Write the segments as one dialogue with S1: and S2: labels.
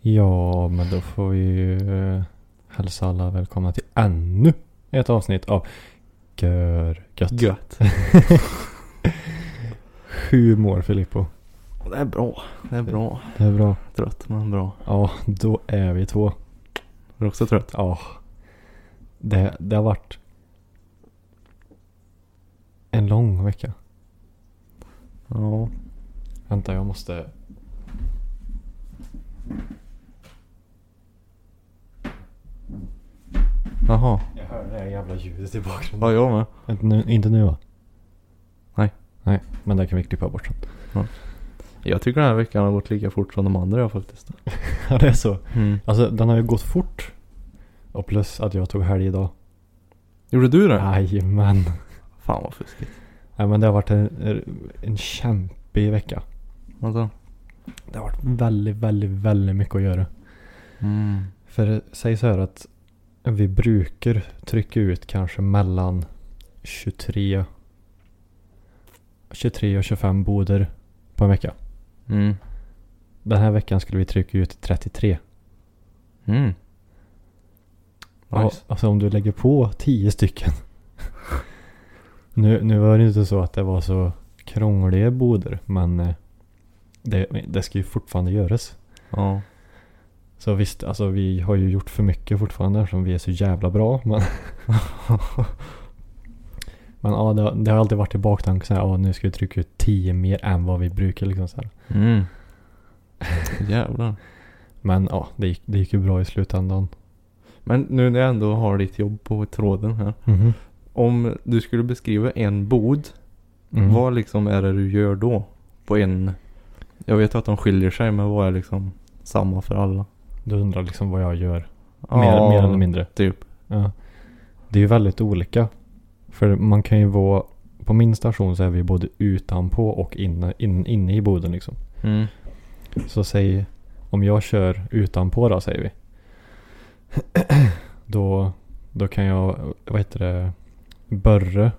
S1: Ja, men då får vi ju eh, hälsa alla välkomna till ännu ett avsnitt av Gör gött.
S2: Gött.
S1: Hur mår Filippo?
S2: Det är bra. Det är bra.
S1: Det är bra.
S2: Trött men bra.
S1: Ja, då är vi två.
S2: Är du också trött?
S1: Ja. Det, det har varit en lång vecka.
S2: Ja.
S1: Vänta, jag måste...
S2: Jaha.
S1: Jag hör det här jävla ljudet i bakgrunden.
S2: Ja, jag med.
S1: Inte nu, inte nu va?
S2: Nej.
S1: Nej, men det kan vi klippa bort sen.
S2: Jag tycker den här veckan har gått lika fort som de andra jag faktiskt.
S1: Ja, det är så.
S2: Mm.
S1: Alltså den har ju gått fort. Och plus att jag tog helg idag.
S2: Gjorde du det?
S1: Jajamän.
S2: Fan vad fuskigt.
S1: Nej men det har varit en, en kämpig vecka.
S2: Alltså.
S1: Det har varit väldigt, väldigt, väldigt mycket att göra.
S2: Mm.
S1: För det sägs här att vi brukar trycka ut kanske mellan 23 23 och 25 boder på en vecka.
S2: Mm.
S1: Den här veckan skulle vi trycka ut 33.
S2: Mm.
S1: Ja,
S2: Nice.
S1: alltså om du lägger på 10 stycken. nu, nu var det inte så att det var så krångliga boder, men eh, det, det ska ju fortfarande göras.
S2: Ja.
S1: Så visst, alltså vi har ju gjort för mycket fortfarande eftersom vi är så jävla bra. Men, men ja, det, har- det har alltid varit i baktanken så här, ja, nu ska vi trycka ut 10 mer än vad vi brukar liksom så här.
S2: Mm. Jävlar.
S1: Men ja, det gick, det gick ju bra i slutändan.
S2: Men nu när jag ändå har ditt jobb på tråden här.
S1: Mhm.
S2: Om du skulle beskriva en bod.
S1: Mm.
S2: Vad liksom är det du gör då? På en... Jag vet att de skiljer sig men vad är liksom samma för alla?
S1: Du undrar liksom vad jag gör. Mer, mer eller mindre.
S2: Typ.
S1: Ja. Det är ju väldigt olika. För man kan ju vara, på min station så är vi både utanpå och inne, in, inne i boden liksom.
S2: Mm.
S1: Så säg, om jag kör utanpå då säger vi. Då, då kan jag, vad heter det, börre,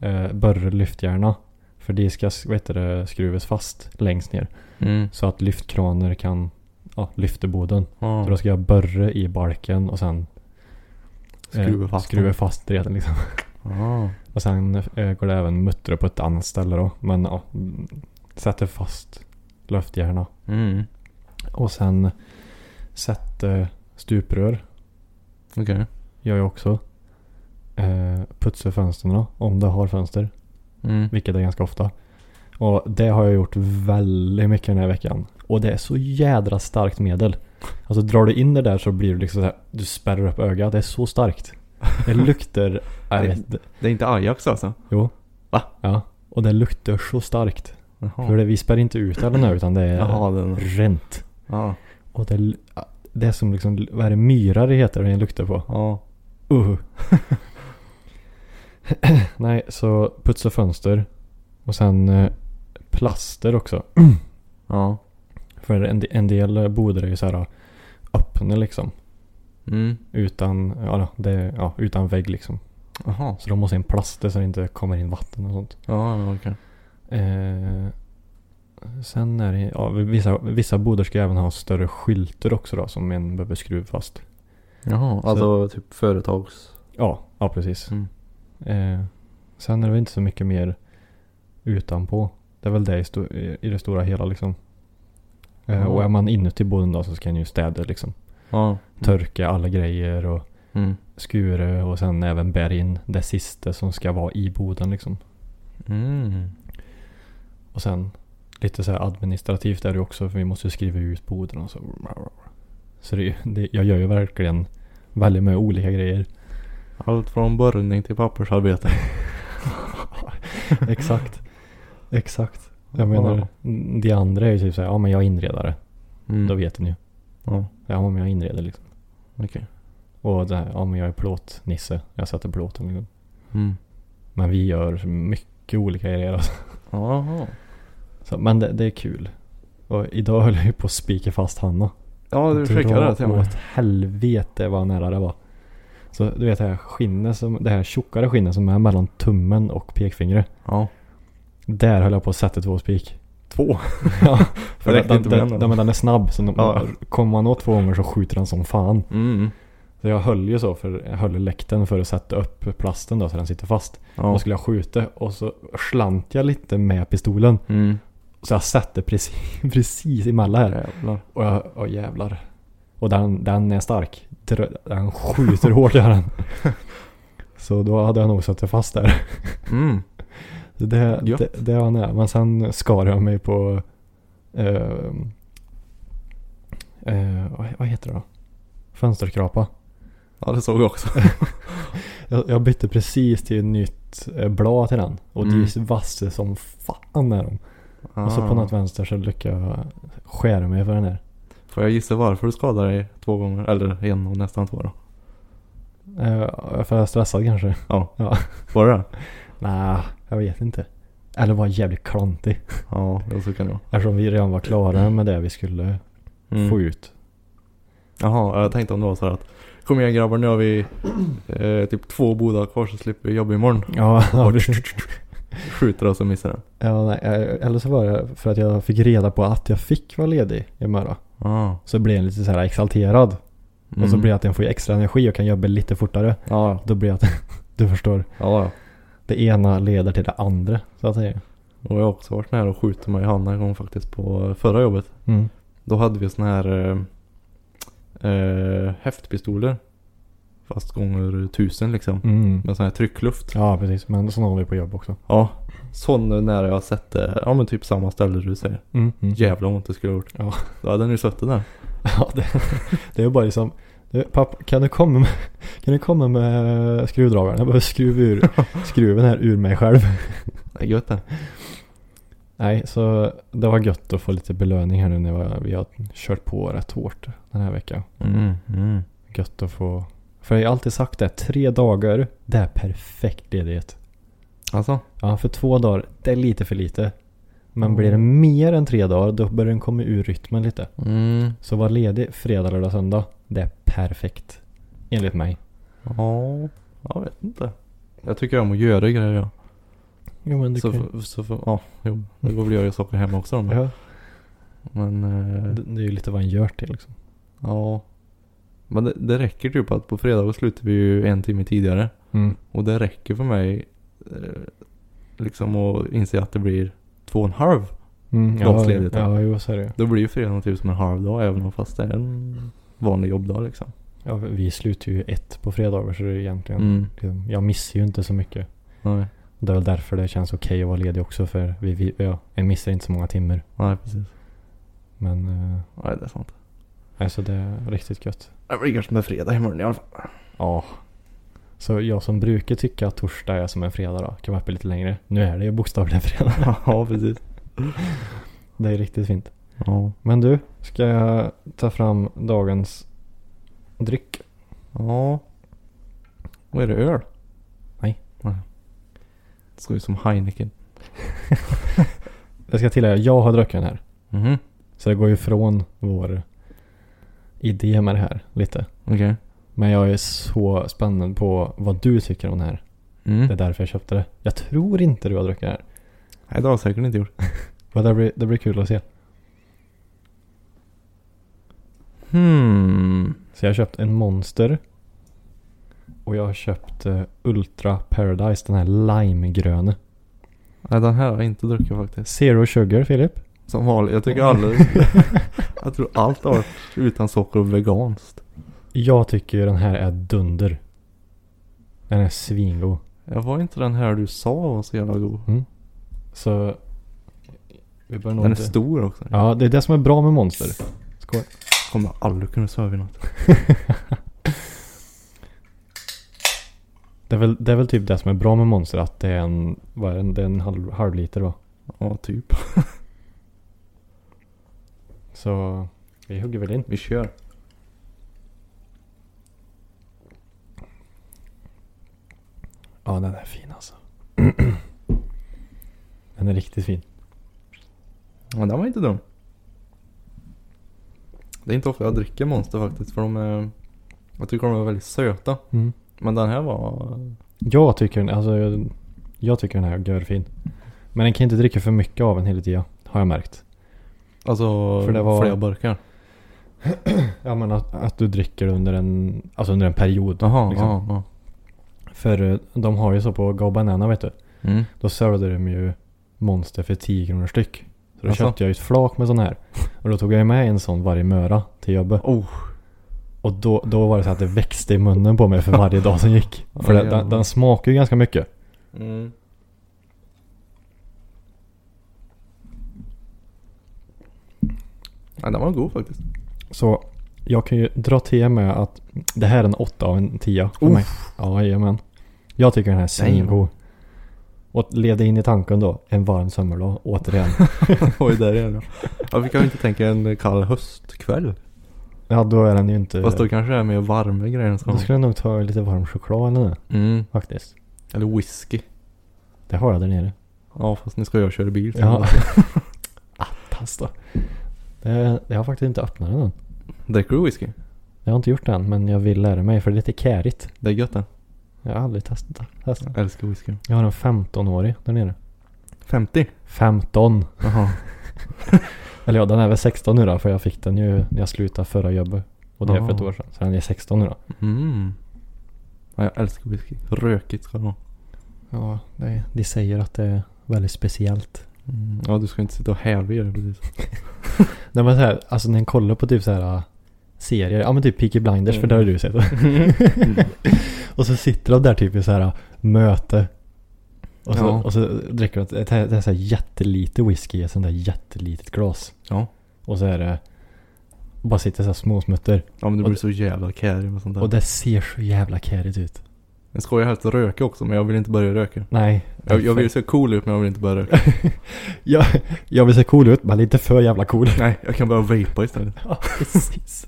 S1: eh, börre lyftjärna. För de ska, vad heter det, skruvas fast längst ner.
S2: Mm.
S1: Så att lyftkraner kan, ja, lyfta boden.
S2: Ja.
S1: Så då ska jag börre i balken och sen eh,
S2: Skruva fast
S1: skruva
S2: den.
S1: fast redan liksom.
S2: Ja.
S1: Och sen eh, går det även muttra på ett annat ställe då. Men ja, mm, sätter fast löftjärna.
S2: Mm.
S1: Och sen sätter stuprör.
S2: Okej.
S1: Gör jag också. Eh, putsar fönstren då, om det har fönster.
S2: Mm.
S1: Vilket är ganska ofta. Och det har jag gjort väldigt mycket den här veckan. Och det är så jädra starkt medel. Alltså drar du in det där så blir du liksom så här, du spärrar upp ögat. Det är så starkt. Det luktar, jag vet inte.
S2: Det är inte Ajax alltså?
S1: Jo.
S2: Va?
S1: Ja. Och det luktar så starkt.
S2: Jaha.
S1: För det, vi spär inte ut den här utan det är
S2: Jaha, den.
S1: rent.
S2: Ja.
S1: Och det, det är som liksom, vad är det, myra det heter den luktar på?
S2: Ja.
S1: Uh. Nej, så putsa fönster. Och sen eh, plaster också.
S2: Ja.
S1: För en, de- en del boder är ju så här ja, öppna liksom.
S2: Mm.
S1: Utan, ja, det, ja, utan vägg liksom.
S2: Jaha.
S1: Så de måste in plaster så det inte kommer in vatten och sånt.
S2: Ja, men okej.
S1: Eh, sen är det, ja, vissa, vissa boder ska även ha större skyltar också då som en behöver skruva fast.
S2: Jaha, alltså typ företags...
S1: Ja, ja precis.
S2: Mm.
S1: Eh, sen är det väl inte så mycket mer utanpå. Det är väl det i, sto- i- i det stora hela liksom. Eh,
S2: Ja.
S1: Och är man inuti boden då så ska man ju städa liksom.
S2: Ja.
S1: Törka alla grejer och
S2: Mm.
S1: skure och sen även bära in det sista som ska vara i boden liksom.
S2: Mm.
S1: Och sen lite så här administrativt är det också för vi måste ju skriva ut boden och så. Så det, det, jag gör ju verkligen väldigt många olika grejer.
S2: Allt från börjning till pappersarbete.
S1: Exakt. Exakt. Jag menar, de andra är ju typ såhär, ja men jag är inredare.
S2: Mm.
S1: Då vet ni ju.
S2: Ja,
S1: Ja men jag inreder liksom.
S2: okej.
S1: Och det här, ja men jag är plåtnisse. Jag sätter plåten liksom.
S2: Mm.
S1: Men vi gör mycket olika grejer alltså.
S2: Jaha.
S1: Så, men det, det är kul. Och idag höll jag ju på att spika fast Hanna.
S2: Ja, du skickade det till
S1: mig.
S2: mig.
S1: åt helvete vad nära det var. Så du vet det här skinnet som, det här tjockare skinnet som är mellan tummen och pekfingret.
S2: Ja.
S1: Där höll jag på att sätta två spik.
S2: Två?
S1: Ja,
S2: Det
S1: för
S2: räckte
S1: den,
S2: inte med
S1: den,
S2: en
S1: den,
S2: då.
S1: men den är snabb. Så
S2: Ja.
S1: kommer man åt två gånger så skjuter den som fan.
S2: Mm.
S1: Så jag höll ju så, för, jag höll i läkten för att sätta upp plasten då så den sitter fast.
S2: Ja.
S1: Och skulle jag skjuta och så slant jag lite med pistolen.
S2: Mm.
S1: Så jag satte precis, precis emellan här.
S2: Jävlar.
S1: Och jag, åh jävlar. Och den, den är stark. Dr- Den skjuter hårt gör den. Så då hade jag nog suttit fast där.
S2: Mm.
S1: Så Det,
S2: Gött.
S1: det, det var nära. Men sen skar jag mig på... Eh, eh, vad- vad heter det då? Fönsterkrapa.
S2: Ja, det såg jag också.
S1: Jag, jag bytte precis till ett nytt eh, blad till den. Och
S2: Mm. Ah.
S1: det är vassade som fan är de. Och så på något vänster så lyckades jag skära mig för den här.
S2: Får jag gissa varför du skadade dig två gånger? Eller en och nästan två då?
S1: Eh, för jag är stressad kanske.
S2: Ja.
S1: Ja.
S2: Var det det?
S1: Nej, jag vet inte. Eller var jävligt klantig.
S2: Ja, det så kan det vara.
S1: Eftersom vi redan var klara med det vi skulle
S2: Mm.
S1: få ut.
S2: Jaha, jag tänkte om det var så här att Kom igen grabbar, nu har vi eh, typ två bodar kvar så slipper vi jobba imorgon.
S1: Ja, ja,
S2: Bort.
S1: precis.
S2: Skjuter oss och missar den.
S1: ja nej, eh, Eller så var det för att jag fick reda på att jag fick vara ledig i Möra.
S2: Ah.
S1: Så blev jag lite så här exalterad. Och så
S2: Mm.
S1: blir jag att jag får extra energi och kan jobba lite fortare.
S2: Ja,
S1: Då blir jag att, du förstår.
S2: ja. ja.
S1: Det ena leder till det andra, så att säga.
S2: Och jag har också varit nära att skjuta mig i handen en gång faktiskt på förra jobbet.
S1: Mm.
S2: Då hade vi såna här eh, eh, häftpistoler. Fast gånger tusen liksom.
S1: Mm.
S2: Med sån här tryckluft.
S1: Ja, precis. Men sådana har vi på jobb också.
S2: Ja. Sån nära jag har sett det. Ja men typ samma ställe du säger.
S1: Mm. Mm.
S2: Jävlar vad ont det skulle ha gjort.
S1: Ja.
S2: Då hade den ju suttit där.
S1: Ja, det, det är bara liksom du, Pappa, kan du komma med, kan du komma med skruvdragaren? Jag behöver skruva ur skruven här ur mig själv.
S2: Det är gött det.
S1: Nej, så det var gött att få lite belöning här nu när jag- vi har kört på rätt hårt den här veckan.
S2: Mm, mm.
S1: Gött att få... För jag har alltid sagt det, tre dagar, det är perfekt ledighet.
S2: Alltså.
S1: Ja, för två dagar, det är lite för lite. Men
S2: Mm.
S1: blir det mer än tre dagar, då börjar den komma ur rytmen lite.
S2: Mm.
S1: Så var ledig fredag, lördag, söndag, det är perfekt. Enligt mig.
S2: Ja. Jag vet inte. Jag tycker om att göra grejer ja.
S1: Jo, men
S2: Så, f- så f- ja, jo. Det går väl att göra saker hemma också då. men-
S1: Ja.
S2: Men. Eh,
S1: Det, det är ju lite vad en gör till liksom.
S2: Ja. Men det, det räcker typ att på fredag slutar vi ju en timme tidigare.
S1: Mm.
S2: Och det räcker för mig eh, liksom att inse att det blir två och en halv.
S1: Mm, ja,
S2: Dagsledigt, ja.
S1: ja, jo så är det ju.
S2: Då blir ju fredagen typ som en halv dag även om fast det är en vanlig jobbdag liksom.
S1: ja, Vi slutar ju ett på fredagar så det är egentligen.
S2: Mm.
S1: liksom, Jag missar ju inte så mycket.
S2: Nej.
S1: Det är väl därför det känns okej att vara ledig också för vi, vi ja, jag missar inte så många timmar.
S2: Nej precis.
S1: Men eh,
S2: Nej det är sant.
S1: alltså det är riktigt gött.
S2: Det blir kanske med fredag imorgon i alla fall.
S1: Ja. Så jag som brukar tycka att torsdag är som en fredag då, kan vara uppe lite längre. Nu är det ju bokstavligen fredag.
S2: ja precis.
S1: Det är riktigt fint.
S2: Ja.
S1: Men du, ska jag ta fram dagens dryck?
S2: Ja. Och är det öl?
S1: Nej.
S2: Nej. Det ska ju som Heineken.
S1: Jag ska tillägga, jag har druckit den här.
S2: Mhm.
S1: Så det går ju ifrån vår idé med det här lite.
S2: Okej.
S1: Men jag är så spänd på vad du tycker om det här.
S2: Mm.
S1: Det är därför jag köpte det. Jag tror inte du har druckit det här.
S2: Nej det har jag säkert inte gjort.
S1: Men det blir, det blir kul att se.
S2: Hmm.
S1: Så jag har köpt en Monster. Och jag har köpt eh, Ultra Paradise, den här limegröna.
S2: Nej, den här har jag inte druckit faktiskt.
S1: Zero Sugar, Filip.
S2: Som vanligt. Jag tycker alla... jag tror allt har varit utan socker och veganskt.
S1: Jag tycker ju den här är dunder. Den är svingod.
S2: Jag var inte den här du sa var så jävla god.
S1: Så... Vi bör nog
S2: Den är
S1: inte-
S2: stor också.
S1: Ja, det är det som är bra med Monster. Skål.
S2: Kommer jag aldrig kunna sväva i något.
S1: Det är, väl, det är väl typ det som är bra med Monster, att det är en, vad är det, det är en halv, halv liter va?
S2: Ja, typ.
S1: Så vi hugger väl in.
S2: Vi kör.
S1: Ja, den är fin alltså. den är riktigt fin.
S2: Ja, den var inte dum. Det är inte ofta jag dricker Monster faktiskt för de är... Jag tycker de är väldigt söta.
S1: Mm.
S2: Men den här var...
S1: Jag tycker den, alltså, jag, jag tycker den här är görfin. Men den kan inte dricka för mycket av den hela tiden. Har jag märkt.
S2: Alltså
S1: För det var-
S2: flera burkar.
S1: Ja men att, att du dricker under en, alltså under en period.
S2: Jaha,
S1: Liksom.
S2: ja, ja.
S1: För eh, de har ju så på Go Banana vet du.
S2: Mm.
S1: Då sålde de ju Monster för 10 kronor styck. Så då
S2: Jaså?
S1: köpte jag ju ett flak med sån här. Och då tog jag ju med en sån varje möra till jobbet.
S2: Oh.
S1: Och då, då var det så att det växte i munnen på mig för varje dag som gick. För det,
S2: Ja,
S1: den,
S2: jävlar.
S1: den smakar ju ganska mycket.
S2: Mm. Ja, den var god faktiskt.
S1: Så jag kan ju dra till med att det här är en 8 av en 10 för
S2: Uff.
S1: mig. Ja, jajamän. Jag tycker den här är svingod. Och levde in i tanken då, en varm sommardag återigen.
S2: Oj, där är den. Ja, vi kan ju inte tänka en kall höstkväll.
S1: ja, då är den ju inte...
S2: Fast då kanske det är mer varma grejer som...
S1: Då skulle jag nog ta lite varm choklad eller något,
S2: Mm.
S1: faktiskt.
S2: Eller whisky.
S1: Det har jag där nere.
S2: Ja, fast nu ska jag köra bil.
S1: Ja. Attas då. Det, jag har faktiskt inte öppnat den än.
S2: Dricker du whisky?
S1: Jag har inte gjort det än, men jag vill lära mig för det är lite kärigt.
S2: Det är gött det.
S1: Jag har aldrig testat det. Testat.
S2: Jag älskar whisky.
S1: Jag har en 15-årig där nere.
S2: 50?
S1: 15!
S2: Jaha.
S1: Eller ja, den är väl 16 nu då, för jag fick den ju när jag slutade förra jobbet. Och det är för ett
S2: Aha.
S1: år sedan. Så den är 16 nu då.
S2: Mm. Ja, jag älskar whisky. Rökigt ska det vara.
S1: Ja, det, de säger att det är väldigt speciellt.
S2: Mm. Ja, du ska inte sitta och häva i det precis.
S1: Nej men så här, alltså när en kollar på typ så här äh, serier, ja men typ Peaky Blinders, för
S2: Mm.
S1: det har ju du sett. och så sitter de där typ i så här äh, möte. Och så,
S2: Ja.
S1: och så dricker de, ett- det här- det är så här jättelite whisky i ett sånt där jättelitet glas.
S2: Ja.
S1: Och så är det, bara sitter så här småsmutter.
S2: Ja, men du
S1: Och
S2: blir
S1: det-
S2: så jävla carry med sånt där.
S1: Och det ser så jävla kärigt ut.
S2: Jag skojar helst att röka också, men jag vill inte börja röka.
S1: Nej.
S2: Jag, jag vill se cool ut, men jag vill inte börja röka.
S1: jag, jag vill se cool ut, men inte för jävla cool.
S2: Nej, jag kan börja vapa istället.
S1: Ja, precis.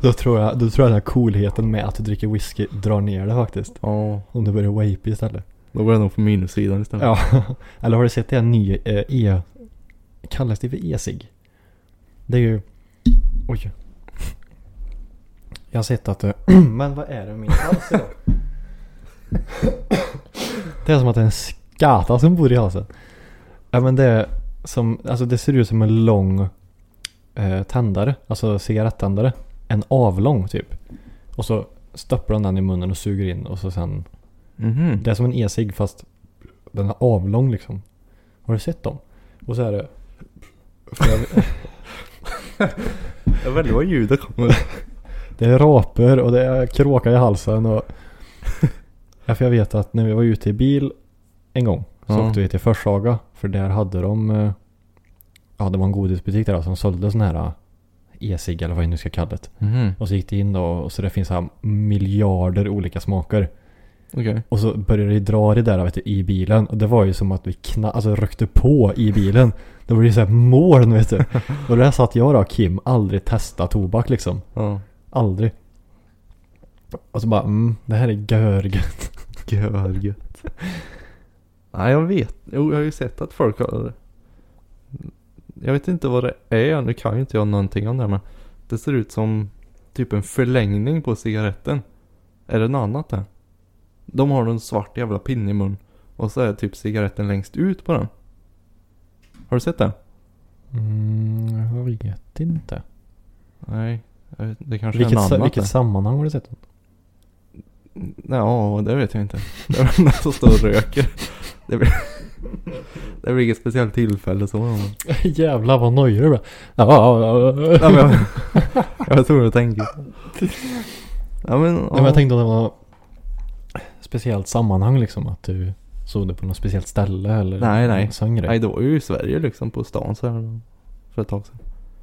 S1: då, tror jag, då tror jag den här coolheten med att du dricker whisky drar ner det faktiskt.
S2: Ja.
S1: Om du börjar vape istället.
S2: Då går jag nog på minussidan istället.
S1: Ja. Eller har du sett det här nya eh, E... Kallas det för e-cigg? Det är ju... Oj. Jag har sett att det... Men vad är det med min hals idag? det är som att det är en skata som bor i halsen. Ja men det är som... Alltså det ser ut som en lång eh, tändare. Alltså cigarettändare. En avlång typ. Och så stoppar de den i munnen och suger in och så sen
S2: Mhm.
S1: det är som en e-cigg fast den är avlång liksom. Har du sett dem? Och så är det... för jag-
S2: Jag vet inte vad ljudet kommer.
S1: Det är raper och det är kråka i halsen och... Ja, för jag vet att när vi var ute i bil en gång så
S2: Ja.
S1: åkte vi till Forshaga. För där hade de... eh, Ja, det var en godisbutik där som sålde sån här eh, e-cigg eller vad jag nu ska kalla det.
S2: Mhm.
S1: Och så gick det in då och så det finns så här miljarder olika smaker.
S2: Okej.
S1: Och så började det dra det där vet du, i bilen. Och det var ju som att vi kna- alltså, rökte på i bilen. Det var ju såhär moln vet du. Och där satt jag då och Kim, aldrig testa tobak liksom.
S2: Ja.
S1: Aldrig. Och så bara, mm, det här är görgött.
S2: Görgött. Nej, jag vet. Jo, jag har ju sett att folk har... Jag vet inte vad det är. Nu kan ju inte jag någonting om det här, men det ser ut som typ en förlängning på cigaretten. Är det något annat där? De har en svart jävla pinne i mun och så är typ cigaretten längst ut på den. Har du sett det?
S1: Mm, jag vet inte.
S2: Nej, jag vet, det kanske
S1: Vilket,
S2: är något
S1: sa-
S2: annat.
S1: vilket
S2: där.
S1: sammanhang har du sett den?
S2: Ja, det vet jag inte. Det är väl någon som står och röker. Det blir, det blir inget speciellt tillfälle så. men-
S1: Jävlar vad nojig du blev. Ja, ja, ja, ja.
S2: Ja, men jag, jag var tvungen att tänka. Ja, men, ja.
S1: Nej, men jag tänkte om det var något speciellt sammanhang liksom. Att du såg det på något speciellt ställe eller
S2: Nej, nej.
S1: sån grej.
S2: Nej, det var ju i Sverige liksom på stan så här för ett tag sedan.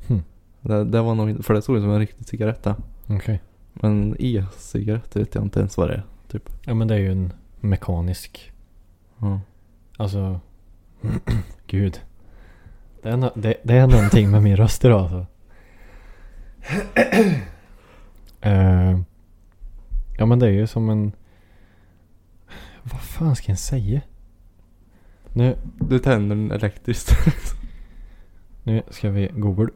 S1: Hmm.
S2: Det, det var nog inte, för det såg ut som en riktig cigarett där.
S1: Okej.
S2: Men e-cigarett vet jag inte ens vad det är. Typ.
S1: Ja men det är ju en mekanisk,
S2: Ja.
S1: alltså... Gud. Det är, nå- det, det är någonting med min röst idag alltså. Eh, ja men det är ju som en... Vad fan ska jag säga? Nu,
S2: Du tänder den elektriskt.
S1: nu ska vi googla.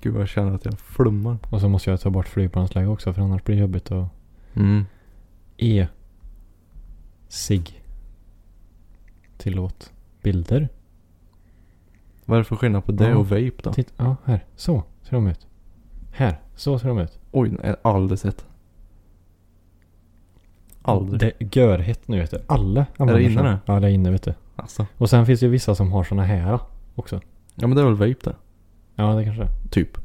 S2: Gud vad jag känner att jag flummar.
S1: Och så måste jag ta bort flygplansläge också för annars blir det jobbigt att...
S2: Mm.
S1: E. SIG. Tillåt. Bilder.
S2: Vad är det för skillnad på det
S1: Ja.
S2: och vape då?
S1: Titt, ja, här. Så ser de ut. Här. Så ser de ut.
S2: Oj, nej, aldrig sett. Aldrig.
S1: Det är görhet nu vet du. Alla
S2: det
S1: använder
S2: inne
S1: såna.
S2: nu?
S1: Ja, det är inne vet du.
S2: Alltså.
S1: Och sen finns det ju vissa som har såna här också.
S2: Ja men det är väl vape det.
S1: Ja, det kanske det är.
S2: Typ.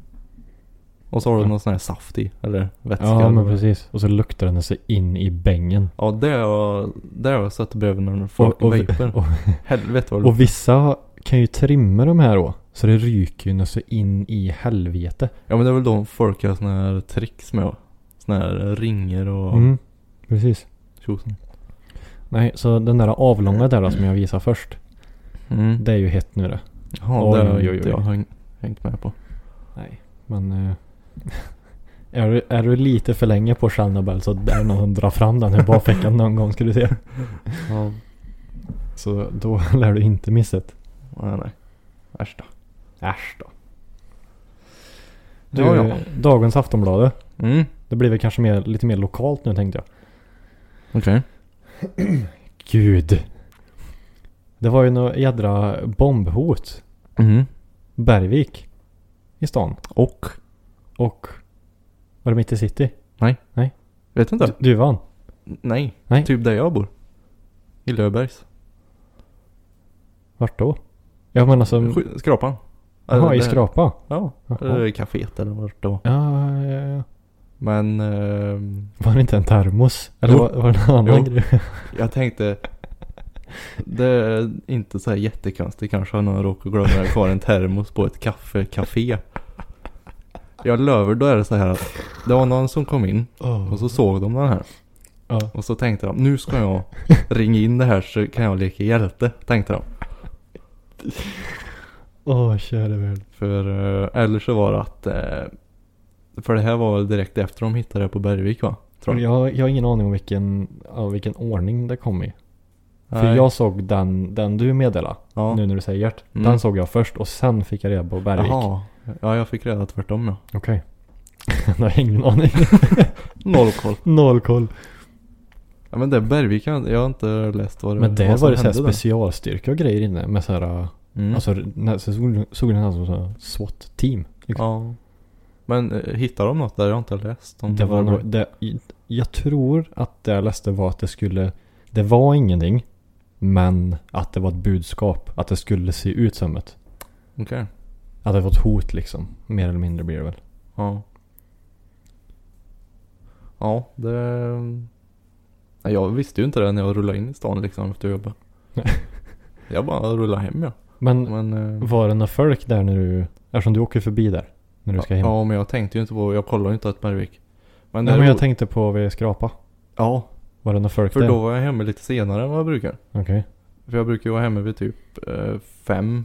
S2: Och så har du
S1: Ja.
S2: någon sån här saft i. Eller vätska.
S1: Ja,
S2: eller-
S1: men precis. Och så luktar den sig in i bängen.
S2: Ja det har jag, det har jag sett bredvid när folk
S1: och,
S2: vapar.
S1: och,
S2: Helvete vad
S1: och vissa kan ju trimma de här då. Så det ryker ju något så in i helvete.
S2: Ja men det är väl då folk har såna här tricks med. Såna här ringer och
S1: Mm, precis.
S2: tjosan.
S1: Nej, så den där avlånga där då, som jag visade först.
S2: Mm.
S1: Det är ju hett nu det.
S2: Ja
S1: Oj,
S2: det har
S1: oj, oj,
S2: inte
S1: oj.
S2: jag häng, hängt med på.
S1: Nej, men... eh, är, du, är du lite för länge på Chernobyl så är det någon som drar fram den ur bakfickan någon gång ska du se.
S2: Ja.
S1: Så då lär du inte missa det.
S2: Nej nej. Äsch då.
S1: Äsch då. Du,
S2: Ja, ja.
S1: dagens Aftonbladet.
S2: Mm.
S1: Det blir väl kanske mer, lite mer lokalt nu tänkte jag.
S2: Okej.
S1: Gud. Det var ju något jädra bombhot.
S2: Mhm.
S1: Bergvik. I stan.
S2: Och?
S1: Och... Var det mitt i city?
S2: Vet inte.
S1: Du, du vann.
S2: Nej.
S1: Nej.
S2: Typ där jag bor. I Löfbergs.
S1: Vart då? Ja men alltså...
S2: Sk- Skrapan.
S1: Jaha,
S2: Eller
S1: i
S2: det-
S1: Skrapa?
S2: Ja.
S1: Jaha.
S2: Eller kaféet eller vart det var.
S1: Ja, ja, ja, ja.
S2: Men ehm,
S1: Var det inte en termos? Eller
S2: Jo.
S1: var, var det en annan
S2: Jo.
S1: grej?
S2: jag tänkte. Det är inte så här jättekonstigt kanske att någon råkar glömma kvar en termos på ett kaffekafé. Jag löver, då är det så här att det var någon som kom in och så såg de den här.
S1: Ja.
S2: Och så tänkte de, nu ska jag ringa in det här så kan jag leka hjälte, tänkte de.
S1: Åh, käre värld.
S2: För, eh, eller så var det att, eh, för det här var väl direkt efter de hittade det på Bergvik va? Tror jag.
S1: Jag, jag har ingen aning om vilken, ja, vilken ordning det kom i. För
S2: Nej.
S1: jag såg den, den du meddelade,
S2: ja.
S1: nu när du säger det.
S2: Mm.
S1: Den såg jag först och sen fick jag reda på Bergvik.
S2: Jaha. Ja, jag fick reda tvärtom ja.
S1: Okej. jag har ingen aning.
S2: Noll koll.
S1: Noll koll.
S2: Ja men det är Bergvik, jag jag har inte läst vad det
S1: Men det
S2: vad som
S1: var det såhär
S2: hände där.
S1: specialstyrka och grejer inne med såhär, mm.
S2: Mm.
S1: alltså när- så såg- såg den här som så här SWAT-team. liksom.
S2: Ja. Men eh, hittade de något där jag inte har läst? Om
S1: Det var
S2: vad
S1: nog, det, jag tror att det jag läste var att det skulle, det var ingenting. Men att det var ett budskap, att det skulle se ut som ett.
S2: Okej.
S1: Att det var ett hot liksom. Mer eller mindre blir det väl.
S2: Ja. Ja, det... Nej, Jag visste ju inte det när jag rullade in i stan liksom efter jobbet.
S1: Nej.
S2: jag bara rullade hem ja.
S1: Men
S2: Men... eh,
S1: var det några folk där när du, eftersom du åker förbi där. När du ska hem.
S2: Ja, men jag tänkte ju inte på... Jag kollade ju inte att Bergvik. Men,
S1: Nej men jag
S2: däremot-
S1: tänkte på vid Skrapa.
S2: Ja,
S1: Var det några folk
S2: för
S1: där?
S2: då var jag hemma lite senare än vad jag brukar.
S1: Okej.
S2: För jag brukar ju vara hemma vid typ eh, fem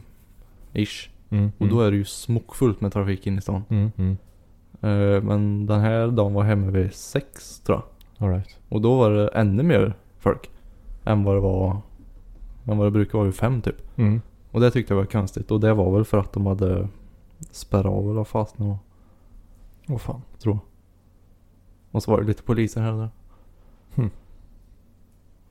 S2: ish.
S1: Mm,
S2: Och då är det ju smockfullt med trafik in i stan.
S1: Mm, mm.
S2: Eh, men den här dagen var jag hemma vid sex tror jag.
S1: Alright.
S2: Och då var det ännu mer folk. Än vad det var... Än vad det brukar vara vid fem typ.
S1: Mm.
S2: Och det tyckte jag var konstigt. Och det var väl för att de hade spärrat av eller vad fasen det var,
S1: Åh fan.
S2: tror jag. Och så var det lite poliser här och där.
S1: Hmm.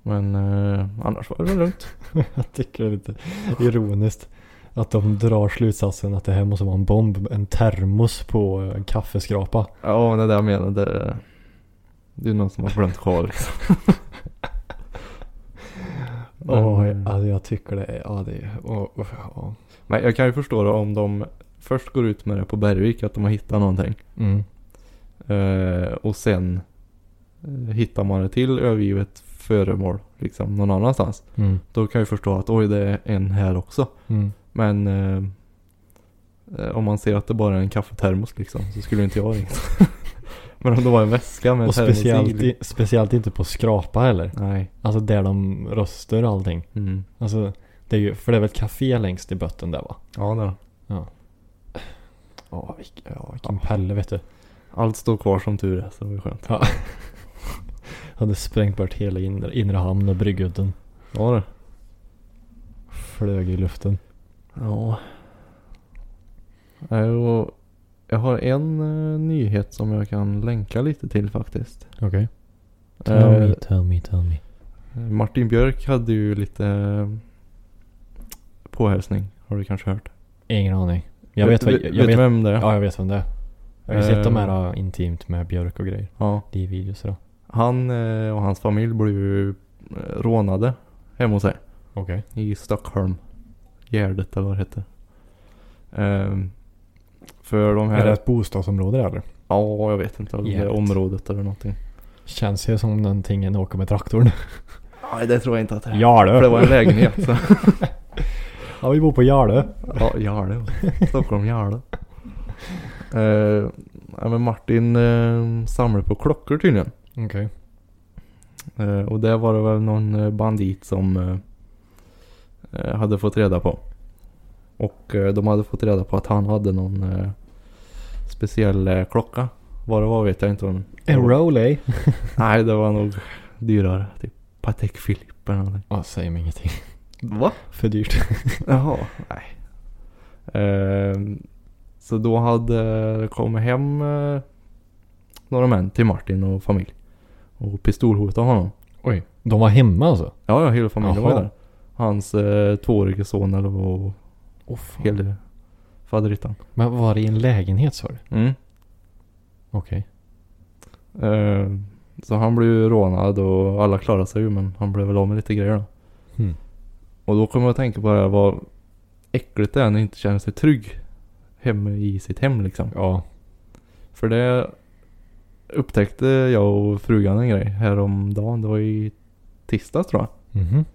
S2: Men eh, annars var det väl lugnt.
S1: jag tycker det är lite ironiskt. Att de drar slutsatsen att det här måste vara en bomb, en termos på en kaffeskrapa.
S2: ja, men det där jag menar. Det, det är någon som har glömt kvar liksom. Men,
S1: Åh,
S2: eh,
S1: ja, alltså, jag tycker det är... Ja, det är... åh, usch, ja.
S2: Men jag kan ju förstå det om de först går ut med det på Bergvik, att de har hittat någonting.
S1: Mm.
S2: Eh, och sen eh, hittar man det till övergivet föremål, liksom någon annanstans.
S1: Mm.
S2: Då kan jag ju förstå att oj, det är en här också.
S1: Mm.
S2: Men eh, eh, om man ser att det bara är en kaffetermos liksom, så skulle inte jag ringa. Men om det var en väska med en
S1: Och
S2: termos i,
S1: speciellt,
S2: liksom.
S1: i, speciellt inte på skrapa heller.
S2: Nej.
S1: Alltså där de röster och allting.
S2: Mm.
S1: Alltså, det är ju, för det är väl ett café längst i botten där va?
S2: Ja, det är det.
S1: Ja.
S2: Ja, vilk- ja, vilken-
S1: Fan, Pelle vet du.
S2: Allt står kvar som tur är, så det var ju skönt.
S1: Ja. Hade sprängt bort hela inre, inre hamn och bryggudden.
S2: Ja det.
S1: Flög i luften.
S2: Ja. Nej, och Jag har en eh, nyhet som jag kan länka lite till faktiskt.
S1: Okej. Tell
S2: Eh,
S1: me, tell me, tell me.
S2: Martin Björk hade ju lite eh, påhälsning. Har du kanske hört?
S1: Ingen aning. Jag vet, vad,
S2: vet,
S1: jag, jag vet,
S2: vem det är?
S1: ja, jag vet vem det är. Jag har ju sett
S2: Eh.
S1: de här äh, intimt med Björk och grejer.
S2: Ja.
S1: Det är videos då.
S2: Han eh, och hans familj blev ju eh, rånade hemma hos sig.
S1: Okej.
S2: I Stockholm. Gärdet eller vad det hette. Ehm, för de här...
S1: Är det ett bostadsområde där eller?
S2: Ja, jag vet inte. Om det är
S1: Gärdet.
S2: området eller någonting.
S1: Känns ju som någonting en åker med traktorn.
S2: Nej, det tror jag inte att det är.
S1: Jarlö.
S2: För det var en lägenhet. Så.
S1: Ja, vi bor på Jarlö.
S2: ja, Jarlö. Stockholm Jarlö. Eh, nej, men Martin eh, samlar på klockor tydligen.
S1: Okej.
S2: Eh, och där var det väl någon eh, bandit som eh, eh, hade fått reda på. Och eh, de hade fått reda på att han hade någon eh, speciell eh, klocka. Vad det var vet jag inte. Om.
S1: En eh? Roley.
S2: Nej, det var nog dyrare. Typ Patek Philippe eller någonting.
S1: Ja, säg mig ingenting.
S2: Va?
S1: För dyrt.
S2: Jaha, nej. Ehm, så då hade det kommit hem eh, några män till Martin och familj. Och pistolhotat honom.
S1: Oj. De var hemma alltså?
S2: Ja, ja, hela familjen var
S1: Jaha.
S2: ju där. Hans eh, tvåårige son eller och
S1: Åh fan.
S2: hela faderittan.
S1: Men var det i en lägenhet sa du?
S2: Mm.
S1: Okej.
S2: Ehm, så han blev ju rånad och alla klarade sig ju men han blev väl av med lite grejer då.
S1: Mm.
S2: Och då kommer jag att tänka på det här vad äckligt det är när man inte känner sig trygg hemma i sitt hem liksom.
S1: Ja.
S2: För det upptäckte jag och frugan en grej häromdagen. Det var i tisdags tror jag.
S1: Mhm.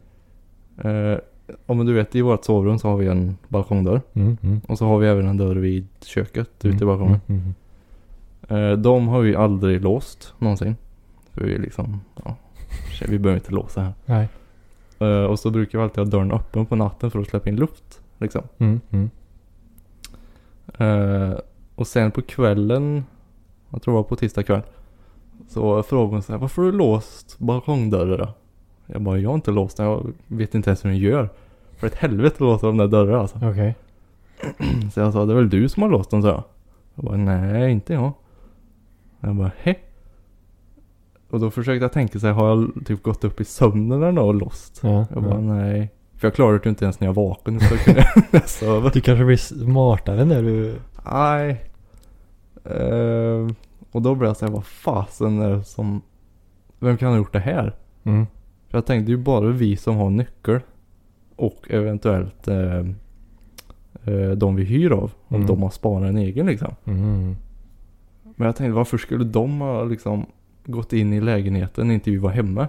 S2: Eh, om du vet i vårt sovrum så har vi en balkongdörr.
S1: Mm, mm.
S2: Och så har vi även en dörr vid köket ute i
S1: Mm,
S2: balkongen.
S1: mm, mm.
S2: Eh, de har vi aldrig låst någonsin. För vi är liksom, ja. tjej, Vi behöver inte låsa här.
S1: Nej.
S2: Eh, och så brukar vi alltid ha dörren öppen på natten för att släppa in luft. Liksom.
S1: Mm, mm.
S2: Eh, och sen på kvällen, jag tror det var på tisdag kväll, så frågade hon så här, varför har du låst balkongdörrar då? Jag bara, jag har inte låst den, jag vet inte ens hur den gör. För ett helvete låser de där dörrarna alltså.
S1: Okej.
S2: Så jag sa, det är väl du som har låst dem, sa jag. Jag bara, nej inte jag. Jag bara, hä? Och då försökte jag tänka så här, har jag typ gått upp i sömnen eller något och låst?
S1: Ja,
S2: Jag bara,
S1: ja.
S2: nej. För jag klarade det ju inte ens när jag var vaken, så jag kunde jag sova.
S1: Du kanske blir smartare när du...
S2: Nej. Eh, och då blev jag säga vad fasen är det som... Vem kan ha gjort det här?
S1: Mm.
S2: För jag tänkte det är ju bara vi som har nyckel. Och eventuellt eh, eh, de vi hyr av. Om
S1: Mm.
S2: de har sparat en egen liksom.
S1: Mm.
S2: Men jag tänkte varför skulle de ha liksom gått in i lägenheten när inte vi var hemma?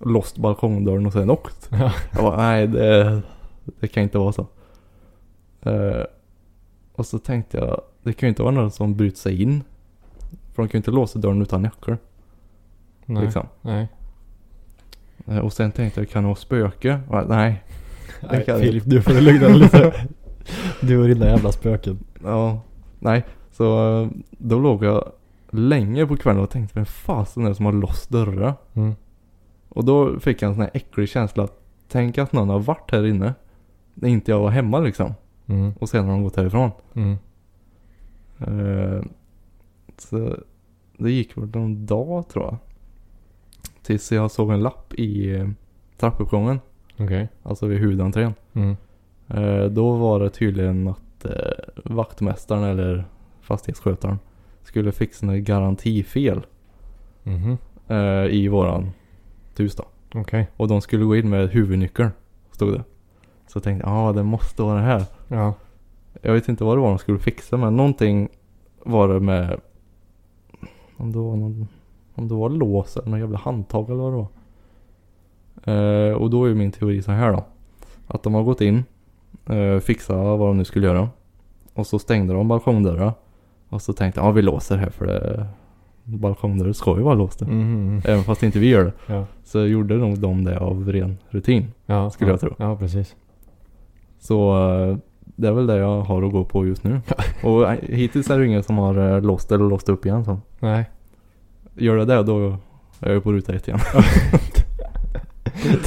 S2: Låst balkongdörren och sen åkt.
S1: Ja.
S2: Jag bara, nej det, det kan inte vara så. Eh, och så tänkte jag, det kan ju inte vara någon som bryter sig in. För de kan ju inte låsa dörren utan nyckel.
S1: Nej.
S2: Liksom.
S1: Nej.
S2: Eh, och sen tänkte jag, kan det vara spöke? Ja, nej.
S1: Nej,
S2: kan-
S1: Filip, du får lugna dig lite. Du och dina jävla spöken.
S2: Ja, nej. Så eh, då låg jag länge på kvällen och tänkte, vem fasen är det som har låst dörrar?
S1: Mm.
S2: Och då fick jag en sån här äcklig känsla. att Tänk att någon har varit här inne. När inte jag var hemma liksom.
S1: Mm.
S2: Och sen har de gått härifrån.
S1: Mm.
S2: Eh, så det gick väl någon dag tror jag. Tills jag såg en lapp i eh, trappuppgången.
S1: Okej.
S2: Alltså vid huvudentrén.
S1: Mm.
S2: Eh, då var det tydligen att eh, vaktmästaren eller fastighetsskötaren skulle fixa något garantifel
S1: Mhm.
S2: eh, i våran hus då.
S1: Okej.
S2: Och de skulle gå in med huvudnyckeln, stod det. Så jag tänkte, ja ah, det måste vara det här.
S1: Ja.
S2: Jag vet inte vad det var de skulle fixa men någonting var det med... Om det var någon... Om det var lås eller någon jävla handtag eller vad det var. Eh, och då är ju min teori så här då. Att de har gått in, eh, fixat vad de nu skulle göra. Och så stängde de balkongdörrar. Och så tänkte jag, ja ah, vi låser här för det... Balkongdörrar ska ju vara låsta.
S1: Mhm.
S2: Även fast inte vi gör det.
S1: Ja.
S2: Så gjorde nog de det av ren rutin.
S1: Ja.
S2: Skulle
S1: ja.
S2: jag tro.
S1: Ja, precis.
S2: Så eh, det är väl det jag har att gå på just nu. Och eh, hittills är det ingen som har eh, låst eller låst upp igen. Så.
S1: Nej.
S2: Gör det det då är jag på ruta ett igen.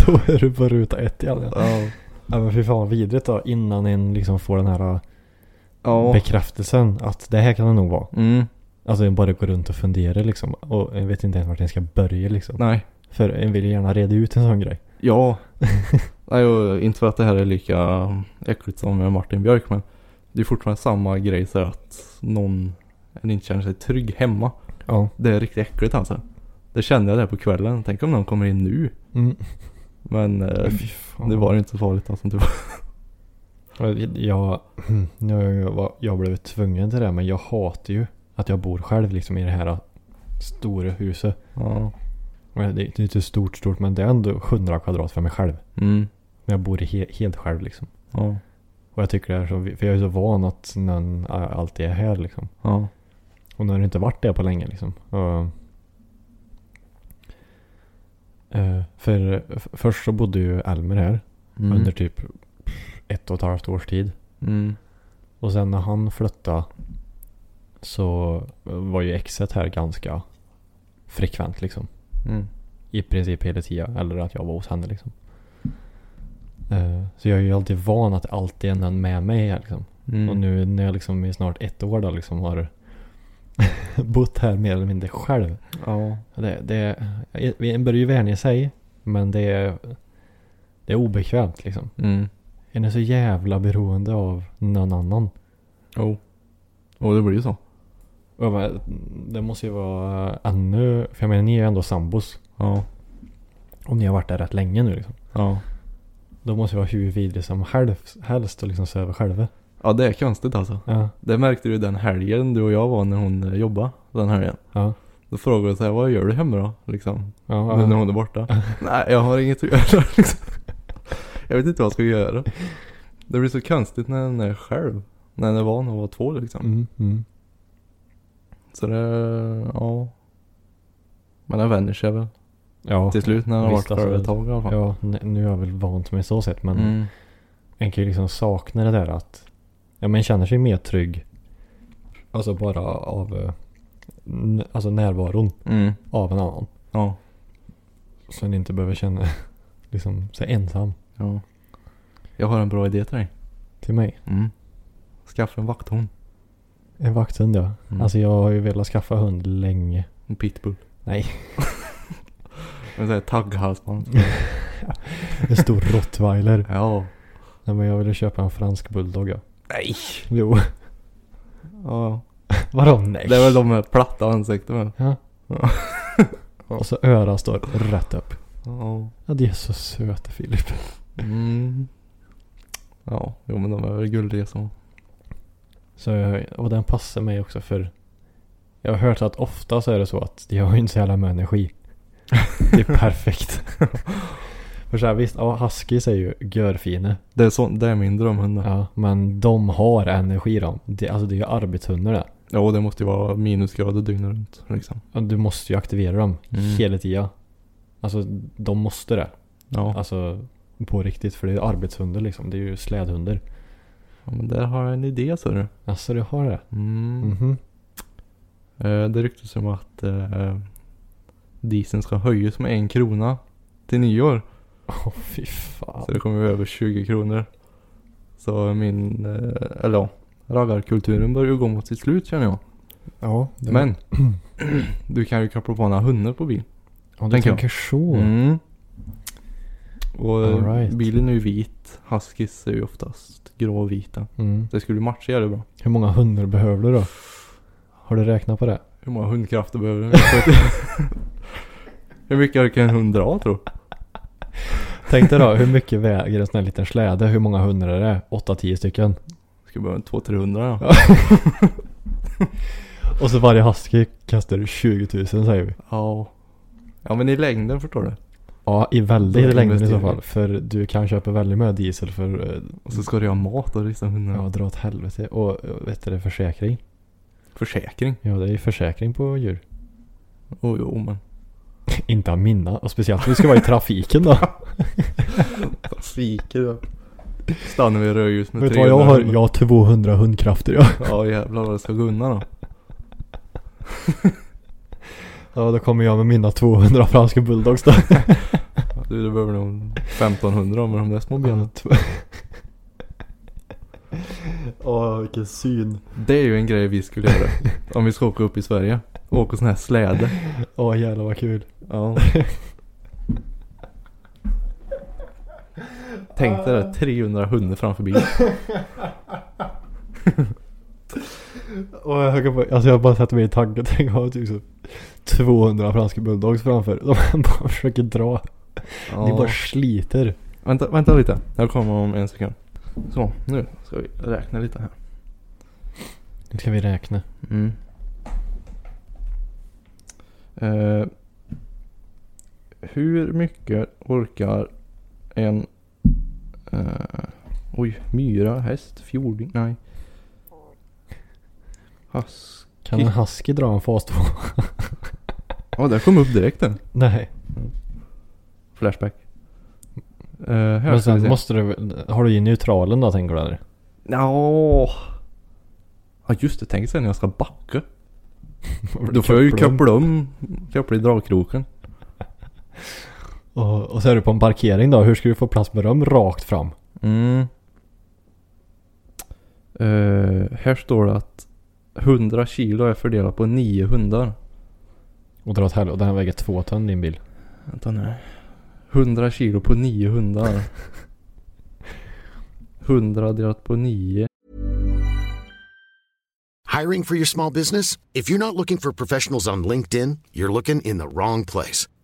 S1: Då är du på ruta ett igen. Ja.
S2: Ja.
S1: Ja, men fy fan vad vidrigt då. Innan en liksom får den här eh,
S2: Ja.
S1: bekräftelsen att det här kan det nog vara.
S2: Mm.
S1: Alltså en bara går runt och funderar liksom. Och jag vet inte ens vart jag ska börja liksom.
S2: Nej.
S1: För en vill ju gärna reda ut en sån grej.
S2: Ja. Nej, och inte för att det här är lika mm, äckligt som med Martin Björk men det är fortfarande samma grej så här att någon en inte känner sig trygg hemma.
S1: Ja.
S2: Det är riktigt äckligt alltså. Det kände jag där på kvällen. Tänk om någon kommer in nu.
S1: Mm.
S2: Men eh,
S1: Fy fan.
S2: det var inte så farligt alltså. Typ.
S1: Jag, nu har jag, var- jag blev tvungen till det men jag hatar ju att jag bor själv liksom i det här stora huset.
S2: Ja.
S1: Men Det det är inte stort stort men det är ändå 100 kvadrat för mig själv.
S2: Mm.
S1: Men jag bor he- helt själv liksom.
S2: Ja.
S1: Och jag tycker det är så, för jag är så van att någon eh, alltid är här liksom.
S2: Ja.
S1: Och nu har det inte varit det på länge liksom. Och, eh, för f- först så bodde ju Elmer här
S2: Mm.
S1: under typ ett och ett halvt års tid.
S2: Mm.
S1: Och sen när han flyttade så var ju exet här ganska frekvent liksom.
S2: Mm.
S1: I princip hela tiden. Eller att jag var hos henne liksom. Eh, Så jag är ju alltid van att det alltid är någon med mig här liksom.
S2: Mm.
S1: Och nu när jag liksom i snart ett år då liksom har bott här mer eller mindre själv.
S2: Ja.
S1: Det, det, en börjar ju vänja sig. Men det är, det är obekvämt liksom.
S2: Mm.
S1: En är så jävla beroende av någon annan.
S2: Jo. Och det blir ju så.
S1: Och jag bara, det måste ju vara ännu... För jag menar ni är ju ändå sambos.
S2: Ja.
S1: Om ni har varit där rätt länge nu liksom.
S2: Ja.
S1: Då måste det vara hur vidrig som helst- helst och liksom se över själva.
S2: Ja det är konstigt alltså.
S1: Ja.
S2: Det märkte du den helgen du och jag var när hon eh, jobbade den helgen.
S1: Ja.
S2: Då frågade jag så här, vad gör du hemma då? Liksom.
S1: Ja.
S2: Men när hon är borta. Nej, jag har inget att göra liksom. Jag vet inte vad jag ska göra. Det blir så konstigt när en är själv. När en är van att vara två liksom.
S1: Mm, mm.
S2: Så det, ja. Men den vänjer sig väl
S1: Ja.
S2: till slut när den har varit
S1: visst,
S2: själv ett
S1: alltså.
S2: tag i alla fall.
S1: Ja, n- nu har jag väl vant mig så sett men
S2: Mm.
S1: en kan ju liksom sakna det där att ja, men känner sig mer trygg. Alltså bara av eh, n- alltså närvaron
S2: Mm.
S1: av en annan.
S2: Ja.
S1: Så en inte behöver känna liksom sig ensam
S2: ja. Jag har en bra idé till dig.
S1: till mig.
S2: Mm. Skaffa en vakthund.
S1: En vakthund ja.
S2: Mm.
S1: Alltså jag har ju velat skaffa hund länge.
S2: En pitbull.
S1: Nej.
S2: En sån här tagghalsband.
S1: En stor rottweiler.
S2: Ja.
S1: Nej men jag ville köpa en fransk bulldog ja.
S2: Nej.
S1: Jo.
S2: Ja.
S1: Vadå nej?
S2: Det är väl de med platta ansikten med.
S1: Ja.
S2: Ja.
S1: Och så örat står rätt upp.
S2: Ja.
S1: Ja de är så söta Filip.
S2: Mm. Ja, jo men de är väl guldiga så.
S1: Så jag, och den passar mig också för jag har hört att ofta så är det så att de har ju inte så jävla med energi. Det är perfekt. för så här, visst, ja, huskies är ju görfina.
S2: Det är, så, det är min drömhund då. Ja.
S1: Ja, men de har energi de. Det, alltså det är ju arbetshundar det.
S2: och det måste ju vara minusgrader dygnet runt liksom.
S1: Och Du måste ju aktivera dem
S2: Mm.
S1: hela tiden. Alltså de måste det.
S2: Ja.
S1: Alltså på riktigt för det är ju arbetshundar liksom. Det är ju slädhundar.
S2: ja, men där har jag en idé så du.
S1: Alltså du har det?
S2: Mm.
S1: Mhm.
S2: Eh, det ryktas om att eh, dieseln ska höjas med en krona till nyår.
S1: Åh fy fan.
S2: Så det kommer ju över 20 kronor. Så min, eh, eller ja, raggarkulturen börjar ju gå mot sitt slut känner jag.
S1: Ja.
S2: Men, du kan ju koppla på några hundar på bil.
S1: Om du
S2: tänker jag.
S1: tänker så.
S2: Mm. Och eh,
S1: All right.
S2: bilen är ju vit. Huskies är ju oftast gråvita.
S1: Mm.
S2: Det skulle ju matcha jävligt bra.
S1: Hur många hundar behöver du då? Har du räknat på det?
S2: Hur många hundkrafter behöver den? Hur mycket orkar en hund dra tror du?
S1: Tänk dig då, hur mycket väger en sån här liten släde? Hur många hundar är det? 8-10 stycken.
S2: Skulle behöva en 200-300 ja.
S1: Och så varje husky kastar du 20 000 säger vi.
S2: ja. Ja men i längden förstår du.
S1: Ja, i
S2: Då
S1: väldigt längden i så
S2: investerar
S1: fall.
S2: vi.
S1: För du kan köpa väldigt mycket diesel för eh,
S2: Och så ska du ha mat och dessa hundar.
S1: ja, dra åt helvete. Och eh, vet du det, försäkring?
S2: Försäkring.
S1: Ja, det är ju försäkring på djur.
S2: Oh, jo men.
S1: Inte av mina. Och speciellt om du ska vara i trafiken då.
S2: Trafiken ja. Stannar vi i rödljus med
S1: Vet du vad jag har?
S2: 300.
S1: Jag har 200 hundkrafter jag.
S2: Ja jävlar vad det ska gå undan då.
S1: Ja, då kommer jag med mina 200 franska bulldogs då.
S2: Du, du behöver nog 1500 med de där små benen.
S1: Åh, vilken syn.
S2: Det är ju en grej vi skulle göra. Om vi ska åka upp i Sverige. Åka sån här släde.
S1: Åh, jävlar vad kul.
S2: Ja. Tänk dig det, 300 hundar framför bilen.
S1: Och jag, kan bara, alltså jag bara sätter mig i tanken. Tänk att ha typ så 200 franska bulldogs framför. De bara försöker dra. Ni
S2: Ja.
S1: bara sliter.
S2: Vänta, vänta lite. Jag kommer om en sekund. Så, nu ska vi räkna lite här.
S1: Nu ska vi räkna.
S2: Mm. Eh, hur mycket orkar en eh, oj, myra, häst, fjording, nej. Hask.
S1: Kan en husky dra en fas 2?
S2: Ja, där kom upp direkt den.
S1: Nej.
S2: Flashback. Eh, här
S1: Men
S2: ska vi
S1: sen
S2: se.
S1: måste du, väl- har du i neutralen då tänker du eller?
S2: Nå. Ja just det, tänk sen när jag ska backa. Då får jag ju
S1: Kaplum.
S2: koppla om, koppla i dragkroken.
S1: Och, och så är du på en parkering då. Hur ska du få plats med dem rakt fram?
S2: Mm. Eh, här står det att 100 kilo är fördelat på 9 hundar.
S1: Och dra åt helvete. Och den här väger två ton din bil.
S2: Vänta nu. 100 kilo på 9 hundar. 100 delat på 9.
S3: Hiring for your small business? If you're not looking for professionals on LinkedIn, you're looking in the wrong place.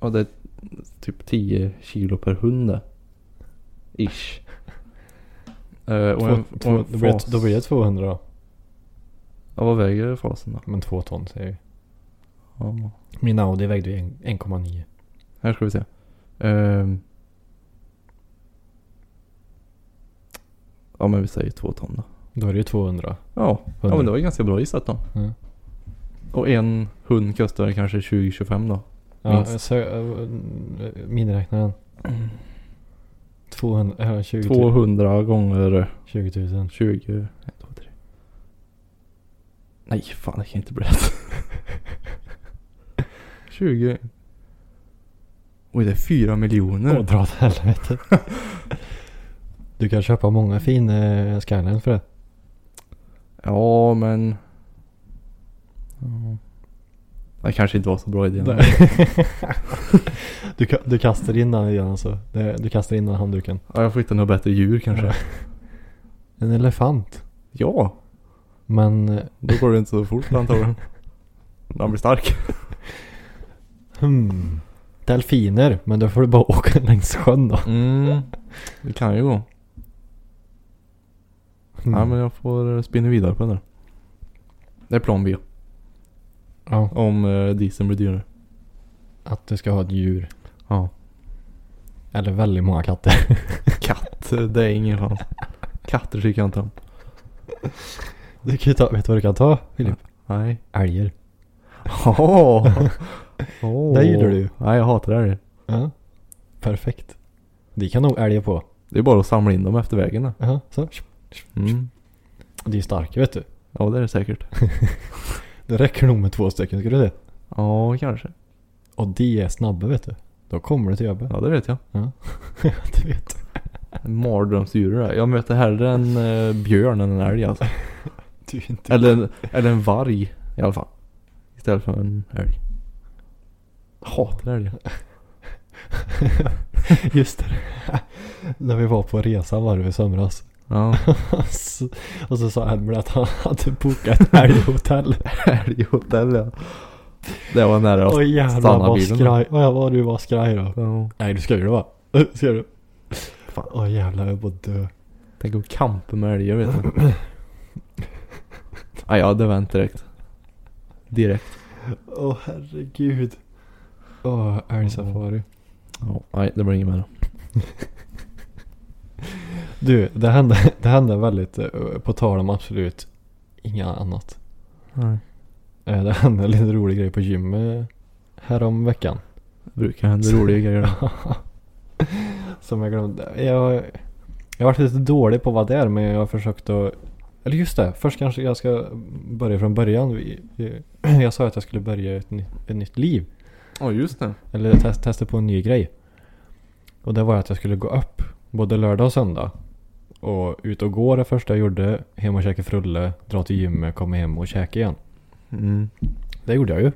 S2: Ja det är typ 10 kilo per hund där. Ish. Eh, och en,
S1: Två,
S2: och
S1: två,
S2: en
S1: då, blir det,
S2: fas.
S1: då blir det 200 då.
S2: Ja vad väger fasen då?
S1: Men två ton säger vi.
S2: Ja.
S1: Min Audi vägde ju en- 1,9.
S2: Här ska vi se. Ehm. Ja men vi säger två ton då.
S1: Då är det ju 200.
S2: Ja, ja
S1: Hundra.
S2: men det var ju ganska bra gissat då.
S1: Mm.
S2: Och en hund kostar kanske 20-25 då.
S1: Ja,
S2: Minst.
S1: så, äh, miniräknaren. 200, äh, 20, 000.
S2: 200 gånger
S1: 20 000.
S2: 20. 1, 2, 3. Nej fan det kan inte bli rätt. 20. Oj det är 4 miljoner.
S1: Åh, dra åt helvete. Du kan köpa många fina eh, Skyline för det.
S2: Ja men. Ja. Det kanske inte var så bra idé. ändå.
S1: du, ka- du kastar in den igen alltså. Det- Du kastar in den handduken.
S2: Ja, jag får hitta något bättre djur kanske.
S1: En elefant.
S2: Ja,
S1: Men eh,
S2: då går det inte så fort antagligen. Han blir stark.
S1: hmm. Delfiner. Men då får du bara åka längs sjön då.
S2: Mm, det kan ju gå.
S1: Mm.
S2: Ja, men jag får eh, spinna vidare på den där. Det är plan B.
S1: ja.
S2: Om eh, dieseln blir dyrare.
S1: Att du ska ha ett djur.
S2: Ja.
S1: Eller väldigt många katter.
S2: Katt, eh, det är ingen chans. Katter tycker jag inte om.
S1: Du kan ju ta, vet du vad du kan ta Filip?
S2: Nej.
S1: Älger.
S2: Åh! Oh.
S1: Det gillar du ju.
S2: Nej, jag hatar det.
S1: Ja. Perfekt. De kan nog älgar på.
S2: Det är bara att samla in dem efter vägen då.
S1: Ja, så.
S2: Mm.
S1: De är starka vet du.
S2: Ja, det är det säkert.
S1: Det räcker nog med två stycken ska du se.
S2: Ja, kanske.
S1: Och de är snabba vet du. Då kommer du till jobbet.
S2: Ja, det vet jag.
S1: Ja. det vet du.
S2: Mardrömsdjur det där. Jag möter hellre en eh, björn än en älg alltså.
S1: Du är inte...
S2: Eller en, eller en varg i alla fall. Istället för en älg. Hatar älgar.
S1: Just det. När vi var på resan var det i somras.
S2: Ja.
S1: Så- och så sa Elmer att han hade bokat ett älghotell.
S2: Älghotell ja. Det var nära att
S1: Och jävlar
S2: stanna
S1: vad
S2: bilen.
S1: skraj. Och jag var du var skraj då.
S2: Ja.
S1: Nej du skojar va? Ska du? Fan. Åh jävlar jag är på att dö.
S2: Tänk att kampa med älgar vet du. Nej jag hade vänt direkt. Direkt.
S1: Åh herregud. Åh älgsafari.
S2: Ja, nej det blir inget mer.
S1: Du det hände, det hände väldigt, eh, på tal om absolut inga annat.
S2: Nej.
S1: Eh, Det hände en liten rolig grej på gymmet eh, härom veckan.
S2: Brukar hända roliga grejer.
S1: Som jag glömde. Jag, jag har varit lite dålig på vad det är men jag har försökt att... Eller just det, först kanske jag ska börja från början. Vi- vi- Jag sa att jag skulle börja ett, ny, ett nytt liv.
S2: Ja just det.
S1: Eller test, testa på en ny grej. Och det var att jag skulle gå upp både lördag och söndag. Och ut och gå det första jag gjorde. Hem och käka frulle, dra till gymmet, komma hem och käka igen.
S2: Mm.
S1: Det gjorde jag ju.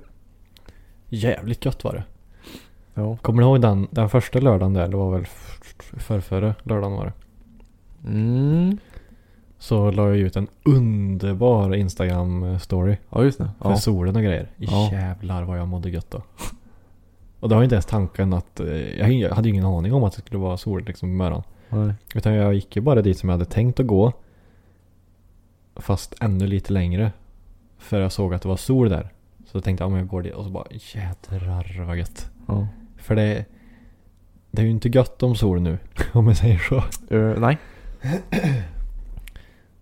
S1: Jävligt gött var det.
S2: Ja.
S1: Kommer du ihåg den, den första lördagen där? Det var väl förrförra lördagen var det.
S2: Mm.
S1: Så la jag ut en underbar Instagram-story
S2: Ja just det.
S1: för
S2: Ja.
S1: solen och grejer.
S2: Ja.
S1: Jävlar vad jag mådde gött då. Och det var ju inte ens tanken att... eh, Jag hade- jag hade ju ingen aning om att det skulle vara sol liksom på morgonen.
S2: Nej.
S1: Utan jag gick ju bara dit som jag hade tänkt att gå. Fast ännu lite längre. För jag såg att det var sol där. Så jag tänkte jag, ja, men jag går dit. Och så bara jädrar vad gött.
S2: Ja.
S1: För det... Det är ju inte gött om sol nu. Om jag säger så.
S2: Eh, nej.